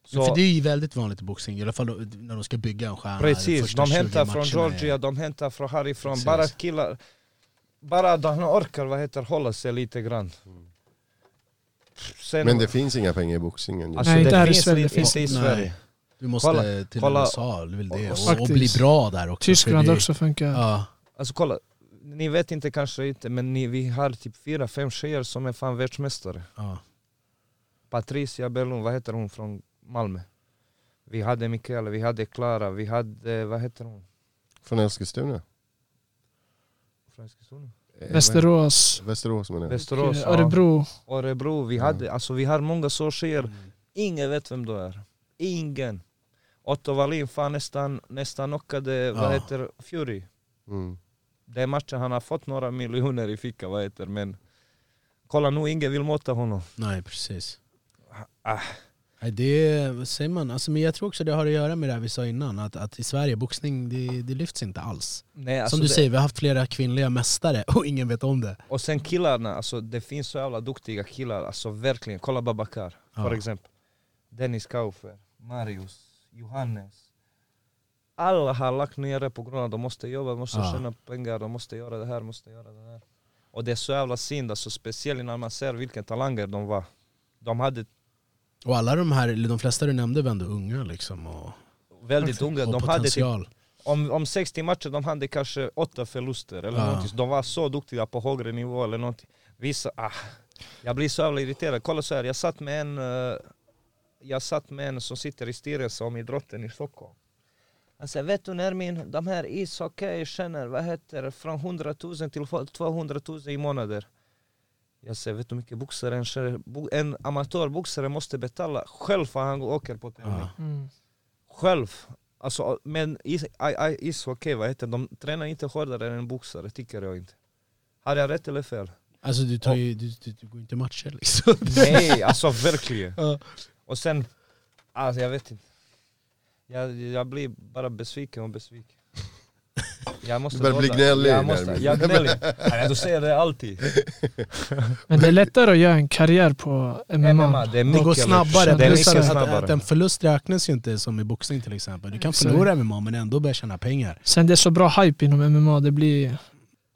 F: Så-
D: För det är ju väldigt vanligt i boxning, i alla fall då- när de ska bygga en stjärna. de
F: Precis,
D: första
F: de
D: 20
F: hämtar från
D: matcherna är-
F: Georgia, de hämtar från härifrån.
D: Precis.
F: Bara killar, bara att han orkar vad heter, hålla sig lite grann. Sen,
E: Men det finns inga pengar i boxningen.
F: alltså,
G: Nej,
F: det
G: inte här i
F: finns
G: Sverige,
F: li-
G: det finns
F: inte i
D: Nej.
F: Sverige.
D: Du måste
F: Kolla-
D: till
F: kolla-
D: USA, det är väl det. Och, och
G: Faktiskt.
D: bli bra där också. för
G: Tyskland
D: det-
G: också funkar.
D: Ja,
F: Alltså kolla, ni vet inte kanske inte men ni, vi har typ fyra, fem tjejer som är fan världsmästare.
D: ja.
F: Patricia Berlund, vad heter hon från Malmö? Vi hade Mikaela, vi hade Klara, vi hade, vad heter hon?
E: Från Eskilstuna?
F: Från Eskilstuna?
E: Eh,
G: Västerås,
E: Västerås menar jag.
F: Västerås, ja.
G: Örebro.
F: Örebro, vi, hade, alltså, vi har många så tjejer. Ingen vet vem du är. Ingen. Otto Wallin fan nästan, nästan knockade, vad
D: Ja.
F: heter Fury.
E: Mm.
F: Det är matchen han har fått några miljoner i ficka, vad heter men kolla nu, ingen vill möta honom.
D: Nej, precis.
F: Ah.
D: Nej, det vad säger man. Alltså, men jag tror också det har att göra med det här vi sa innan, att, att i Sverige, boxning, det, det lyfts inte alls.
F: Nej, alltså
D: Som du
F: det,
D: säger, vi har haft flera kvinnliga mästare [LAUGHS] och ingen vet om det.
F: Och sen killarna, alltså, det finns så jävla duktiga killar, alltså verkligen. Kolla Babakar, för
D: Ja.
F: exempel. Dennis Kaufer, Marius, Johannes. Alla har lagt ner det på grund av att de måste jobba, de måste
D: Ja.
F: tjäna pengar, de måste göra det här, måste göra det här. Och det är så jävla synd, alltså, speciellt när man ser vilka talanger de var. De hade
D: Och alla de här, eller de flesta du nämnde var ändå unga liksom. Och,
F: väldigt unga,
D: och
F: de hade typ
D: potential.
F: om, om 60 matcher de hade kanske 8 förluster eller
D: Ja.
F: någonting. Så De var så duktiga på högre nivå eller någonting. Vissa, ah, jag blir så jävla irriterad. Kolla så här, jag satt med en, eh, jag satt med en som sitter i styrelsen om idrotten i Stockholm. Han säger, vet du Nermin, de här ishockeytjejerna, vad heter det, från 100 000 till 200 000 i månader. Jag säger, vet du hur mycket boxare en, tjej- bo- en amatörboxare måste betala själv för han åker på tävling?
D: Ja.
G: Mm.
F: själv. Alltså, men is- aj- aj- ishockey, vad heter det? de tränar inte hårdare än boxare, tycker jag inte. Har jag rätt
D: [LAUGHS]
F: eller fel?
D: Alltså du, tar ju, du, du, du går inte matcher [LAUGHS] liksom.
F: Nej, alltså verkligen.
D: Ja.
F: Och sen, alltså jag vet inte. Jag, jag blir bara besviken och besviken.
D: [LAUGHS]
F: Jag måste
E: Du börjar bli
F: hålla-
E: gnällig,
F: Jag, måste,
E: Nermin.
F: jag är gnällig. Nej, du säger
D: [LAUGHS]
F: det alltid.
G: Men det är lättare att göra en karriär på MMA.
F: MMA, det är
D: Mm. Det
F: mycket
D: går snabbare,
F: Det är mycket
D: plus att, att,
F: snabbare.
D: att en förlust räknas ju inte som i boxning till exempel. Du kan förlora MMA men ändå börja tjäna pengar.
G: Sen det är så bra hype inom MMA, det blir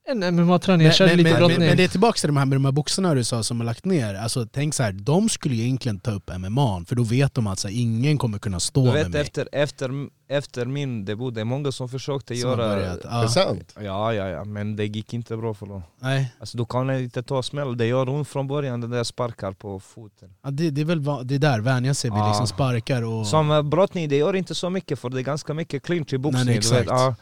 G: en MMA-träning. Jag känner
D: men,
G: lite
D: men, men, men det
G: brottning.
D: är tillbaka till de här med de här boxarna du sa som har lagt ner. Alltså tänk så här, de skulle ju egentligen ta upp MMA för då vet de att så här, ingen kommer kunna stå
F: Du
D: med
F: vet
D: mig.
F: efter, efter, efter min debut, det är många som försökte
D: Som har
F: göra...
D: börjat.
E: Är det
D: Ja.
E: sant?
F: Ja, ja, ja, men det gick inte bra för dem.
D: Nej,
F: Alltså du kan inte ta smäll, det gör ont från början det där sparkar på foten.
D: ja, det, det är väl va- det är där, vänja sig vid
F: Ja.
D: liksom sparkar och...
F: Som eh, brottning, det gör inte så mycket för det är ganska mycket clinch i boxning.
D: Nej, nej,
F: du vet.
D: exakt.
F: Ja.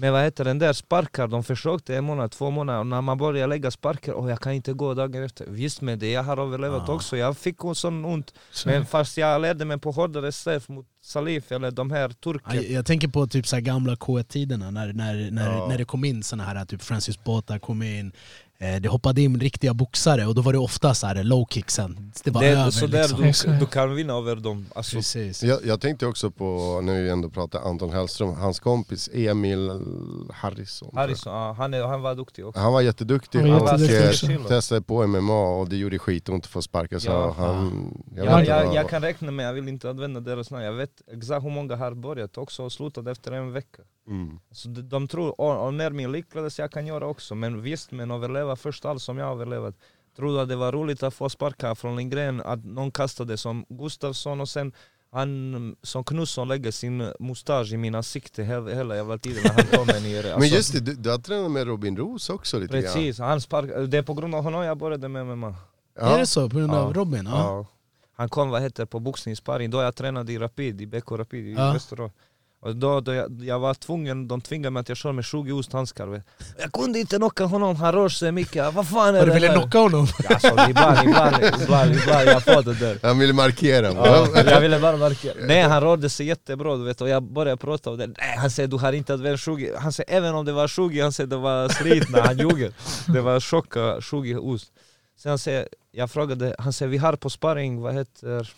F: Men vad heter den där sparkar, de försökte en månad, två månader, och när man börjar lägga sparkar, och jag kan inte gå dagen efter. Visst med det, jag har överlevt
D: Ja.
F: också, jag fick en sån ont.
G: Så-
F: Men fast jag lärde mig på hårdare straff mot Salif eller de här
D: Ja,
F: turkerna.
D: Jag, jag tänker på typ så här gamla K1-tiderna när, när, när,
E: Ja.
D: när det kom in såna här, typ Francis Bota kom in, eh, det hoppade in riktiga boxare och då var det ofta så här low kicksen. Det var
F: Det är
D: över
F: så där
D: liksom.
F: du, du kan vinna över dem. Alltså,
D: Precis.
E: Jag, jag tänkte också på, när vi ändå pratar Anton Hellström, hans kompis Emil Harrison. tror jag.
F: Harrison, ja, han, är, han var duktig också.
E: Han var jätteduktig.
G: Han var
E: Han var
G: jätteduktig
E: jätteduktig
F: också.
E: testade på MMA och det gjorde skitont att få sparka. Så
F: Ja.
E: han, jag,
F: Jag,
E: vet inte
F: jag,
E: vad-
F: jag kan räkna men jag vill inte använda deras namn. Jag vet exakt hur många har börjat också och slutat efter en vecka.
E: Mm.
F: Så de, de tror, "Åh, om Nermin lyckades, jag kan göra också. Men visst, men överleva först allt som jag har överlevat. Tror du att det var roligt att få sparka från Lindgren, att någon kastade som Gustafsson och sen han som Knutsson lägger sin mustasch i min ansikte hela, hela jävla tiden när han kommer ner.
E: [LAUGHS]
F: Alltså,
E: Men just det, du, du har tränat med Robin Roos också lite grann.
F: Precis, han spark, det är på grund av honom jag började med MMA.
D: Är
E: Ja.
D: det så? På grund av
F: Ja.
D: Robin? Ja.
F: Ja. Han kom vad heter det, på boxningssparring, då jag tränade i Rapid, i BK Rapid i
D: Ja.
F: Västerås. Och då, då jag, jag var tvungen, de tvingade mig att jag kör med 20 ost handskar. vet. Jag kunde inte knocka honom, han rör sig mycket. Vad fan är
D: Har du
F: det
D: velat
F: här?
D: knocka honom? [LAUGHS]
F: Alltså ibland, ibland, ibland, ibland, jag får det där.
E: Han ville markera.
F: Ja, [LAUGHS] jag ville bara markera. Nej han rörde sig jättebra du vet och jag började prata om det. Nej han säger du har inte använt 20, han säger även om det var 20, han säger det var slitna, han ljuger. Det var chocka 20 ost. Sen han säger, jag frågade, han säger vi har på sparring, vad heter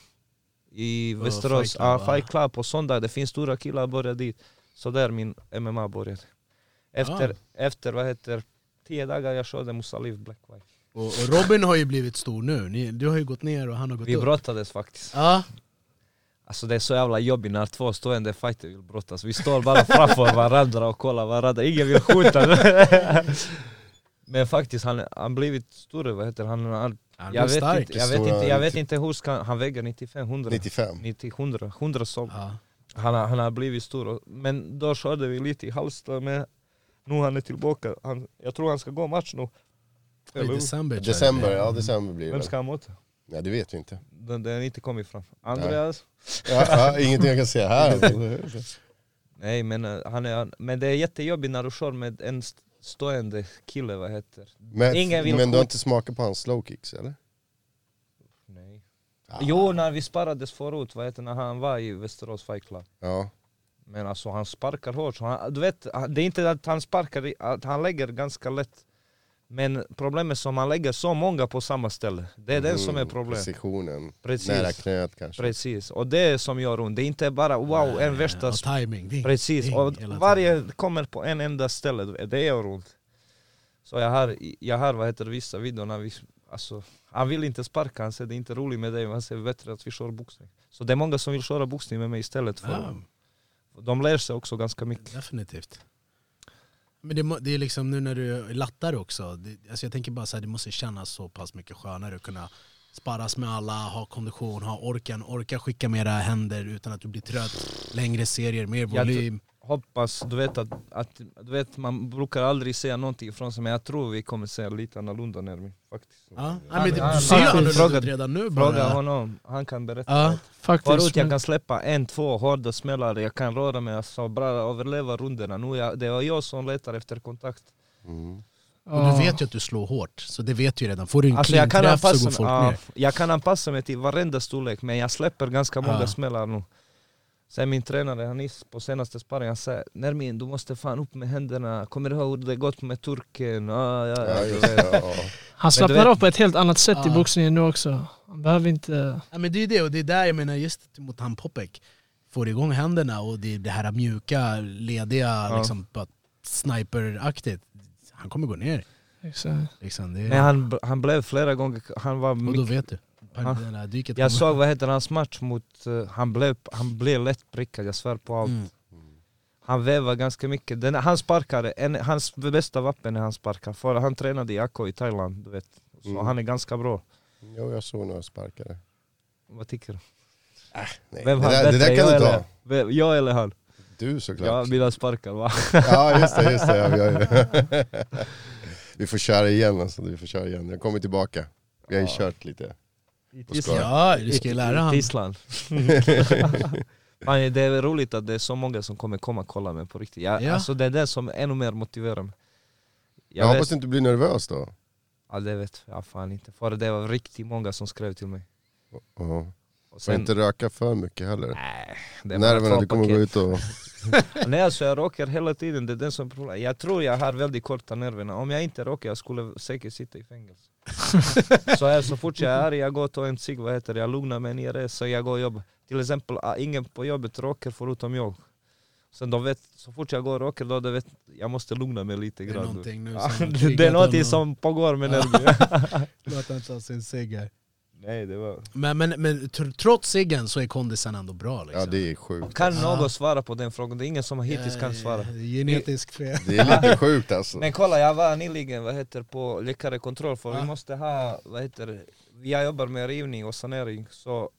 F: i
D: Ja,
F: Västerås,
D: Fight Club,
F: ja,
D: va?
F: Fight Club på söndag, det finns stora killar, börja dit. Så där min MMA började.
D: Ah.
F: Efter, efter vad heter, 10 dagar jag körde Musalif Black White.
D: Och, och Robin har ju blivit stor nu, Ni, du har ju gått ner och han har gått
F: Vi
D: upp.
F: brottades faktiskt.
D: Ja.
F: Alltså det är så jävla jobbigt när två stående fighter vill brottas. Vi står bara framför varandra och kollar varandra, ingen
D: [LAUGHS]
F: vill skjuta. Men faktiskt, han har blivit större, vad heter han? han
D: Han
F: jag,
D: är
F: vet
D: stark.
F: inte, jag, vet
E: Stora
F: inte, jag vet
E: 90.
F: inte hur ska, han väger 95, 100?
E: 95.
F: 90, 100, 100 som.
D: Ja.
F: Han, har- han har blivit stor. Men då körde vi lite i Halmstad med, nu han är tillbaka. Han, jag tror han ska gå match nu.
D: I
F: Eller hur?
D: december tror jag
E: December,
D: det är.
E: ja december blir det.
F: Vem
E: väl.
F: ska han möta?
E: Ja, det vet vi inte.
F: Den, den har inte kommit fram. Andreas?
E: Ja, ja, ingenting jag kan säga här.
F: Nej men, eh, han är, han- men det är jättejobbigt när du kör med en st- stående kille, vad heter
E: Men,
F: Ingen vill
E: men du har
F: skjuta.
E: inte smakat på hans slow kicks eller?
F: Nej.
E: Ah.
F: Jo, när vi sparades förut, vad heter när han var i Västerås Fight Club.
E: Ja.
F: Men alltså han sparkar hårt, så han, du vet, han- det är inte att han sparkar, i- att han lägger ganska lätt. Men problemet är som han lägger så många på samma ställe, det är den som är
E: Mm,
F: problemet.
E: Precisionen.
F: Precis.
E: Nära knät kanske.
F: Precis, och det är som gör ont, det är inte bara wow, en värsta...
D: Och timing. Ding,
F: Precis,
D: ding,
F: och
D: hela tiden.
F: varje kommer på en enda ställe, du vet, det gör ont. Så jag har, jag har vad heter det, vissa videor när vi, alltså, han vill inte sparka, han säger det är inte roligt med dig, men han säger bättre att vi kör boxning. Så det är många som vill köra boxning med mig istället för,
D: Ja.
F: de lär sig också ganska mycket.
D: Definitivt. Men det, må- det är liksom nu när du lattar också, det, alltså jag tänker bara så här, det måste kännas så pass mycket skönare att kunna sparas med alla, ha kondition, ha orken, orka skicka mera händer utan att du blir trött, längre serier, mer
F: Jag tr-
D: volym.
F: Hoppas, du vet att, att du vet, man brukar aldrig säga någonting ifrån sig, men jag tror vi kommer säga lite annorlunda Nermin, faktiskt.
D: Ja. Nej, men det,
F: han-
D: du ser ju
F: han-
D: annorlunda ut
F: fråga-
D: redan nu
F: Fråga
D: bara.
F: honom, han kan berätta.
D: Ja.
G: Faktiskt.
F: Förut jag kan släppa en, två hårda smällar, jag kan röra mig, alltså bara överleva rundorna. Nu jag, det var jag som letar efter kontakt.
E: Mm.
D: Och du vet ju att du slår hårt, så det vet du ju redan. Får du en
F: Alltså
D: clean
F: jag, kan
D: träff så
F: anpassa,
D: går folk
F: ja,
D: ner.
F: jag kan anpassa mig till varenda storlek, men jag släpper ganska många
D: Ja.
F: smällar nu. Sen min tränare Hanis på senaste sparring, han säger Nermin du måste fan upp med händerna, kommer du ihåg hur det gått med turken? Ah, ja, ja,
E: Ja,
F: du
E: just
F: vet.
E: det, ja.
G: Han
F: Men
G: slappnar
F: du vet-
G: av på ett helt annat sätt i
D: Ja.
G: boxningen nu också. Han behöver inte...
D: Ja, men det är ju det, och det är där jag menar just mot han Popek. Får igång händerna och det, det här mjuka, lediga, liksom, bara sniperaktigt. Han kommer gå ner.
G: Exakt.
D: Liksom. Det,
F: Men han, han blev flera gånger, han var
D: och
F: mycket
D: då vet du.
F: Ja.
D: Det där dyket
E: [LAUGHS]
F: Jag
D: kommer.
F: såg vad heter hans match mot, eh, han blev, han blev lätt prickad, jag svär på allt.
D: Mm.
F: Han vevar ganska mycket. Den, han sparkade, en, hans bästa vapen är han sparkar. För han tränade i Akko i Thailand, du vet. Så
E: Mm.
F: han är ganska bra.
E: Jo, jag såg några sparkare.
F: Vad tycker du?
E: Nej,
F: Vem
E: Eh, det,
F: har
E: där, det
F: bättre,
E: där kan
F: jag
E: du
F: eller,
E: ta.
F: vem- jag eller han?
E: Du
F: Jag
E: såklart.
F: vill sparka va?
E: [LAUGHS] Ja, just det. Just det ja, vi, har ju. [LAUGHS] vi får köra igen alltså. Vi får köra igen. Jag kommer tillbaka. Vi har ju kört lite.
F: I
E: Vad ska
F: Tyskland.
D: Ja, du ska ju lära
F: I
D: han. [LAUGHS]
F: Tyskland. [LAUGHS] Man, det är roligt att det är så många som kommer komma och kolla mig på riktigt. Jag,
D: Ja.
F: Alltså det är det som ännu mer motiverar mig.
E: Jag,
F: vet-
E: hoppas du inte blir nervös då.
F: Ja det vet jag fan inte, för det var riktigt många som skrev till mig.
E: Ja.
F: Och
E: Får inte röka för mycket heller.
F: nej, det är bara
E: Nerverna,
F: två
E: du kommer gå ut
F: paket.
E: och...
F: [LAUGHS] Nej alltså jag råkar hela tiden, det är den som är problemet. Jag tror jag har väldigt korta nerverna, om jag inte råkar jag skulle säkert sitta
E: [LAUGHS]
F: i fängelse. så här, så fort jag är arg, jag går och tar en cigg, vad heter det, jag lugnar mig ner, så jag går och jobbar. Till exempel, ah, ingen på jobbet råkar förutom jag. Sen de vet, så fort jag går och råkar då, de vet, jag måste lugna mig lite
D: Det är
F: grann.
D: någonting nu
F: [LAUGHS] Ja,
D: som
F: det- Det är
D: triggat
F: någonting
D: honom.
F: som pågår
D: [LAUGHS]
F: med nerver.
D: Låt han ta sin cigg här.
F: Nej det var...
D: Men, men, men tr- trots ciggen så är kondisen ändå bra liksom.
E: Ja det är
F: [LAUGHS]
E: sjukt.
F: Kan
D: Ja.
F: någon svara på den frågan? Det är ingen som hittills kan svara.
D: Eh, Genetisk fel.
E: Det är lite sjukt alltså.
F: Men kolla, jag var nyligen vad heter, på läkarekontroll för vi måste ha, vad heter jag jobbar med rivning och sanering så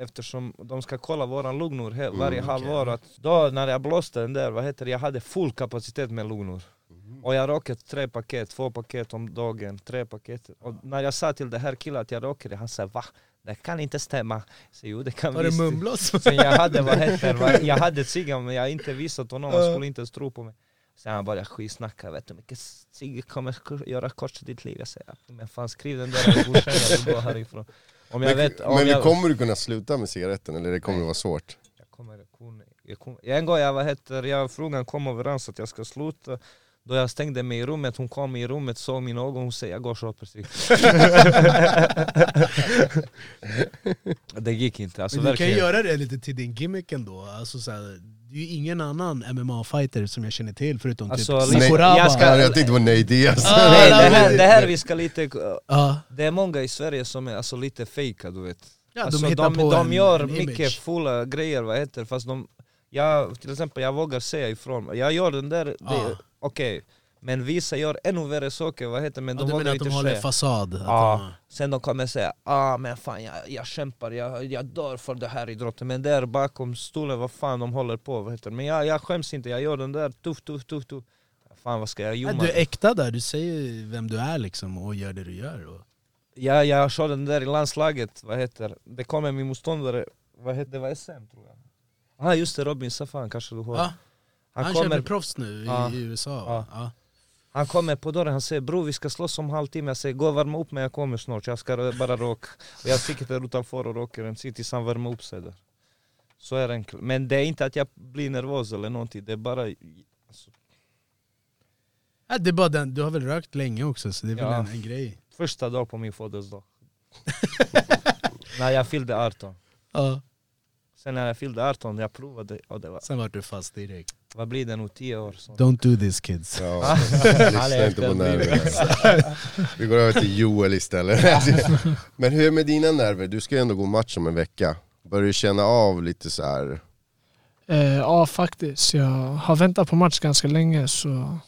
F: eftersom de ska kolla våran lugnor he- varje
D: Mm,
F: halvår, att då när jag blåste den där, vad heter det, jag hade full kapacitet med lugnor.
D: Mm.
F: Och jag råkade tre paket, två paket om dagen, tre paket. Och när jag sa till den här killen att jag råkade, han sa va? Det kan inte stämma. Så, jo, det kan
D: Har du
F: visst."
D: mumlat?
F: Sen jag
E: [LAUGHS]
F: hade, vad heter vad- jag hade ciggan men jag har inte visat honom, han skulle inte ens tro på mig. Sen han bara skitsnackar, vet du hur mycket cigg kommer sk- göra kors i ditt liv? Jag säger, men fan skriv den där och godkänn, jag vill gå härifrån. Om jag
E: Men,
F: vet, om
E: men
F: jag,
E: du kommer du kunna sluta med cigaretten eller det kommer vara svårt?
F: jag kommer, kunna- jag kommer, en gång jag, vad heter, jag frugan kom överens att jag ska sluta, då jag stängde mig i rummet, hon kom i rummet, såg mina ögon, hon säger jag går och
E: [LAUGHS]
F: köper cigg. Det gick inte, alltså
D: Men du kan
F: verkligen.
D: ju göra det lite till din gimmick ändå. Alltså, så här, det är ju ingen annan MMA-fighter som jag känner till förutom
F: Alltså,
D: typ
F: Nej,
D: Sikoraba.
F: jag ska-
E: Nej, jag tänkte på nej [LAUGHS] det alltså.
D: Ah,
F: Nej, Ah, det här, det här vi ska lite eh,
D: Ja,
F: Det är många i Sverige som är alltså lite fejka du vet.
D: Ja, de
F: alltså,
D: hittar
F: de,
D: på
F: de
D: en-
F: gör
D: en image.
F: mycket fulla grejer, vad heter det, fast de... Jag, till exempel, jag vågar säga ifrån. Jag gör den där,
D: Ja.
F: det- okej. Men vissa gör ännu värre saker, vad heter det, men
D: ja,
F: de
D: du menar
F: vågar
D: att de
F: inte
D: håller
F: säga.
D: fasad? Att
F: Ja. Sen de kommer säga ah men fan jag, jag kämpar, jag, jag dör för det här idrotten Men där bakom stolen, vad fan de håller på, vad heter det. Men jag, jag skäms inte, jag gör den där tuff, tuff, tuff, tuff. Fan vad ska jag
D: de,
F: gömma?
D: Nej, du är äkta där, du säger vem du är liksom och gör det du gör. Och,
F: Ja, jag körde den där i landslaget, vad heter det? kommer min motståndare, vad heter det? var SM tror jag. Ja ah, just det, Robin Safan kanske du har.
D: Ja,
F: han,
D: han kör
F: kommer,
D: med proffs nu i,
F: Ja.
D: i USA. va? Ja.
F: han kommer på dörren, han säger bror vi ska slåss om halvtimme. Jag säger gå och värma upp mig, jag kommer snart, jag ska rö- bara råka. Och jag sticker där utanför och råkar en city tills han värmer upp sig där. Så är det enkelt. Men det är inte att jag blir nervös eller någonting, det är bara... Alltså,
D: Ja, det är bara den, du har väl rökt länge också så det är väl
F: Ja.
D: en, en grej.
F: första dag på
D: [LAUGHS]
F: min födelsedag. när jag fyllde 18.
D: Ja.
F: Sen när jag fyllde 18, jag provade och det var...
D: Sen vart du fast direkt.
F: Vad blir det nu, 10 år? Så.
D: Don't do this kids.
E: Ja, [LAUGHS]
F: Han
E: lyssna
F: är
E: inte på
F: efterbliven.
E: nerverna. Vi går över till Joel istället. [LAUGHS] Men hur är det med dina nerver? Du ska ju ändå gå match om en vecka. Börjar du känna av lite så här?
G: Eh, ja, faktiskt. Jag har väntat på match ganska länge så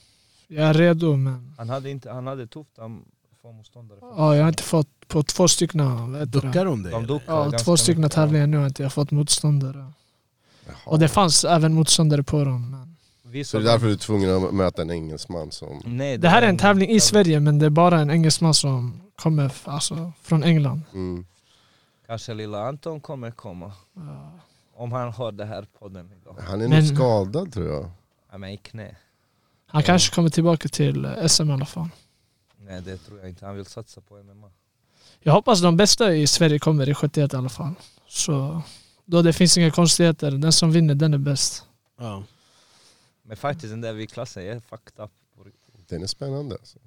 G: jag är redo men
F: Han hade, inte, han hade tufft han få motståndare.
G: ja, jag har inte fått på två stycken vad heter det?
D: Duckar de dig?
F: De
D: eller?
F: duckar
G: Ja,
F: ganska
G: två stycken
F: mycket.
G: tävlingar nu har inte jag fått motståndare. Och det fanns även motståndare på dem. Men
F: Vissa
E: Så det är därför du är tvungen att möta en engelsman som...
F: Nej,
G: det här är en tävling i Sverige men det är bara en engelsman som kommer f- alltså, från England.
E: Mm.
F: Kanske lilla Anton kommer komma. Om han hör det här podden idag.
E: Han är
G: Men-
E: nog skadad tror jag.
F: Ja, men i knä.
G: Han kanske kommer tillbaka till eh, SM i alla fall.
F: Nej det tror jag inte, han vill satsa på MMA.
G: Jag hoppas de bästa i Sverige kommer i 71 i alla fall. Så då det finns inga konstigheter. Den som vinner den är bäst.
D: Ja.
F: Men faktiskt den där viktklassen, jag är fucked up. på riktigt.
E: Den är spännande alltså.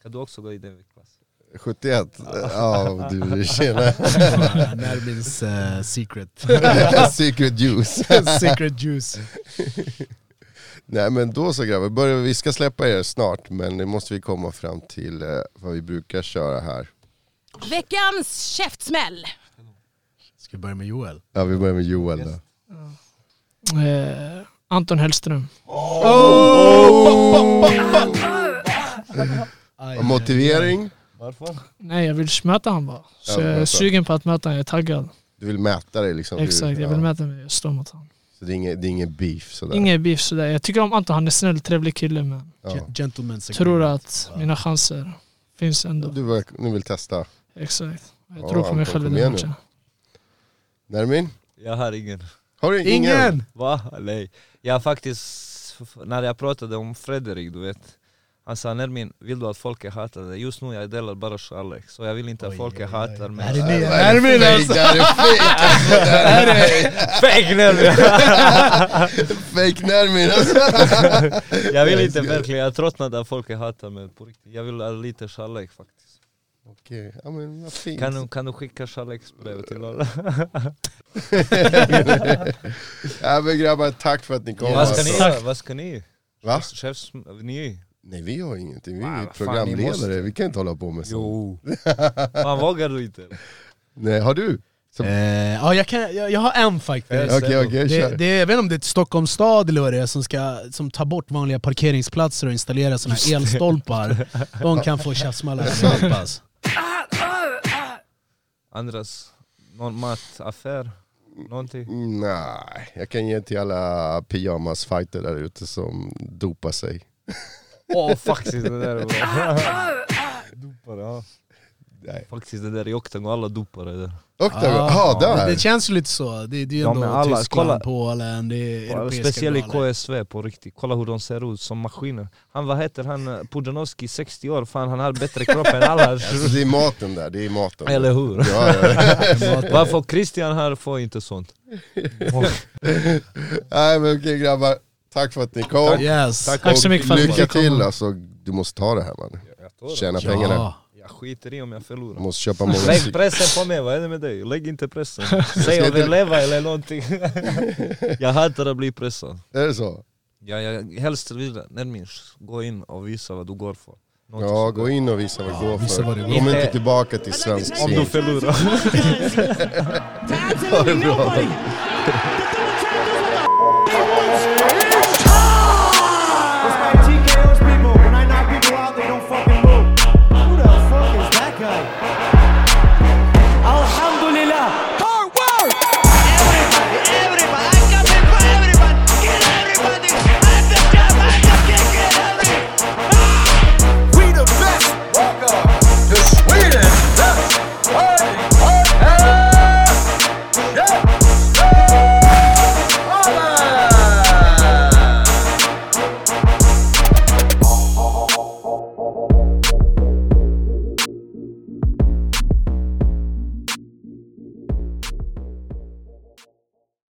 F: Ska du också gå i den viktklassen?
E: 71?
F: Ah.
E: Ja, du känner...
F: [LAUGHS]
E: [LAUGHS]
D: Ja, Nervins eh, secret. [LAUGHS]
E: Secret juice.
D: secret juice.
E: Nej men då så grabbar, börjar vi, vi ska släppa er snart men nu måste vi komma fram till eh, vad vi brukar köra här.
H: Veckans käftsmäll!
D: Ska vi börja med Joel?
E: Ja vi börjar med Joel då.
G: Eh, Anton Hellström.
E: Och Motivering?
F: Varför?
G: Nej, jag vill möta han bara.
E: Ja,
G: Så jag är
E: möta.
G: sugen på att möta han. Jag är taggad.
E: Du vill mäta dig liksom?
G: Exakt,
E: hur,
G: jag vill möta mig och stå mot han.
E: Så det är ingen, det är ingen beef sådär?
G: Ingen beef sådär. Jag tycker om Anton. Han är snäll, trevlig kille men
E: Ja.
D: Gentleman's
G: tror
D: agreement.
G: att mina chanser finns ändå.
E: Du, var- nu vill testa.
G: Exakt. Jag
E: Ja,
G: tror på mig
E: Anton,
G: själv i
E: kom
G: den
E: igen
G: matchen.
E: Nermin?
F: Jag har ingen.
E: Har du ingen?
D: Ingen!
F: Va? Nej. Jag har faktiskt, när jag pratade om Fredrik du vet. Han sa Nermin, vill du att folket hatar dig? Just nu jag delar bara kärlek, så jag vill inte att folket hatar mig.
D: Är det nya
E: Vad är det
D: Nermin
E: fake?
D: alltså?
E: Det här är fake alltså! Det här är
F: [LAUGHS] Fake Nermin!
E: fake Nermin alltså! [LAUGHS]
F: Jag vill inte verkligen, jag tröttnade att folk hatar mig på riktigt. Jag vill ha lite kärlek faktiskt.
E: Okej, ja men vad fint.
F: Kan du, kan du skicka kärleksbrev till alla?
E: ja, men grabbar, tack för att ni kom.
F: Vad ska ni
E: alltså.
F: göra? Vad ska ni?
E: Va?
F: Chefs... Ni?
E: Nej vi har ingenting, vi
F: Va,
E: är ju
F: vad fan, ni
E: programledare,
F: måste.
E: vi kan inte hålla på med sånt.
F: Jo. Man vågar du inte?
E: Nej, har du?
D: Eh, ja, jag, kan, jag, jag har en faktiskt.
F: Jag ser
E: Okej okej,
F: nog.
E: Eh, kör.
D: Eh, Det, det, jag vet inte om det är Stockholms stad eller vad det är som ska som tar bort vanliga parkeringsplatser och installerar såna här elstolpar. De kan få tjafsmällar allihop alltså.
F: Andras, någon mataffär? Någonting?
E: Nej, jag kan ge till alla pyjamasfighter där ute som dopar sig.
F: Åh faktiskt det där var... Dopare, ja.
E: Nej.
F: Faktiskt det där i Octagon, alla dopare där.
E: Och där, ah,
D: Men
E: där!
D: det känns ju lite så. Det, det är ju
F: Ja,
D: ändå
F: men alla-
D: Tyskland,
F: kolla.
D: Polen, det är europeiska
F: Speciellt i
D: galor.
F: KSV på riktigt, kolla hur de ser ut som maskiner. Han, vad heter han, Pudanovski, 60 år, fan han har bättre kropp än alla.
E: [LAUGHS] Alltså, det är maten där, det är maten.
F: Eller hur?
E: Ja, ja. [LAUGHS]
F: Varför Christian här får inte sånt?
E: Nej men okej grabbar, tack för att ni kom.
D: Yes.
F: Tack.
G: Tack så mycket för att ni
E: Lycka
G: fick
E: till
G: komma.
E: alltså, du måste ta det här man. Tjäna pengarna.
D: Ja.
F: Jag skiter i om jag
E: Du
F: förlorar.
E: måste köpa många
F: Lägg
E: cyklar.
F: pressen på mig, vad är det med dig? Lägg
E: [LAUGHS]
F: inte pressen. Säg
E: inte-
F: överleva
E: [LAUGHS]
F: eller någonting. jag hatar att bli pressad.
E: Är det så?
F: Jag, jag helst vill nämligen gå in och visa vad du går för. Någonting
E: Ja,
F: sånt där.
E: gå in och visa vad det går
D: visa
E: för.
D: vad det går
E: Kom
F: för.
E: inte tillbaka till svensk
F: Om du
E: scen.
F: förlorar.
A: To absolutely nobody.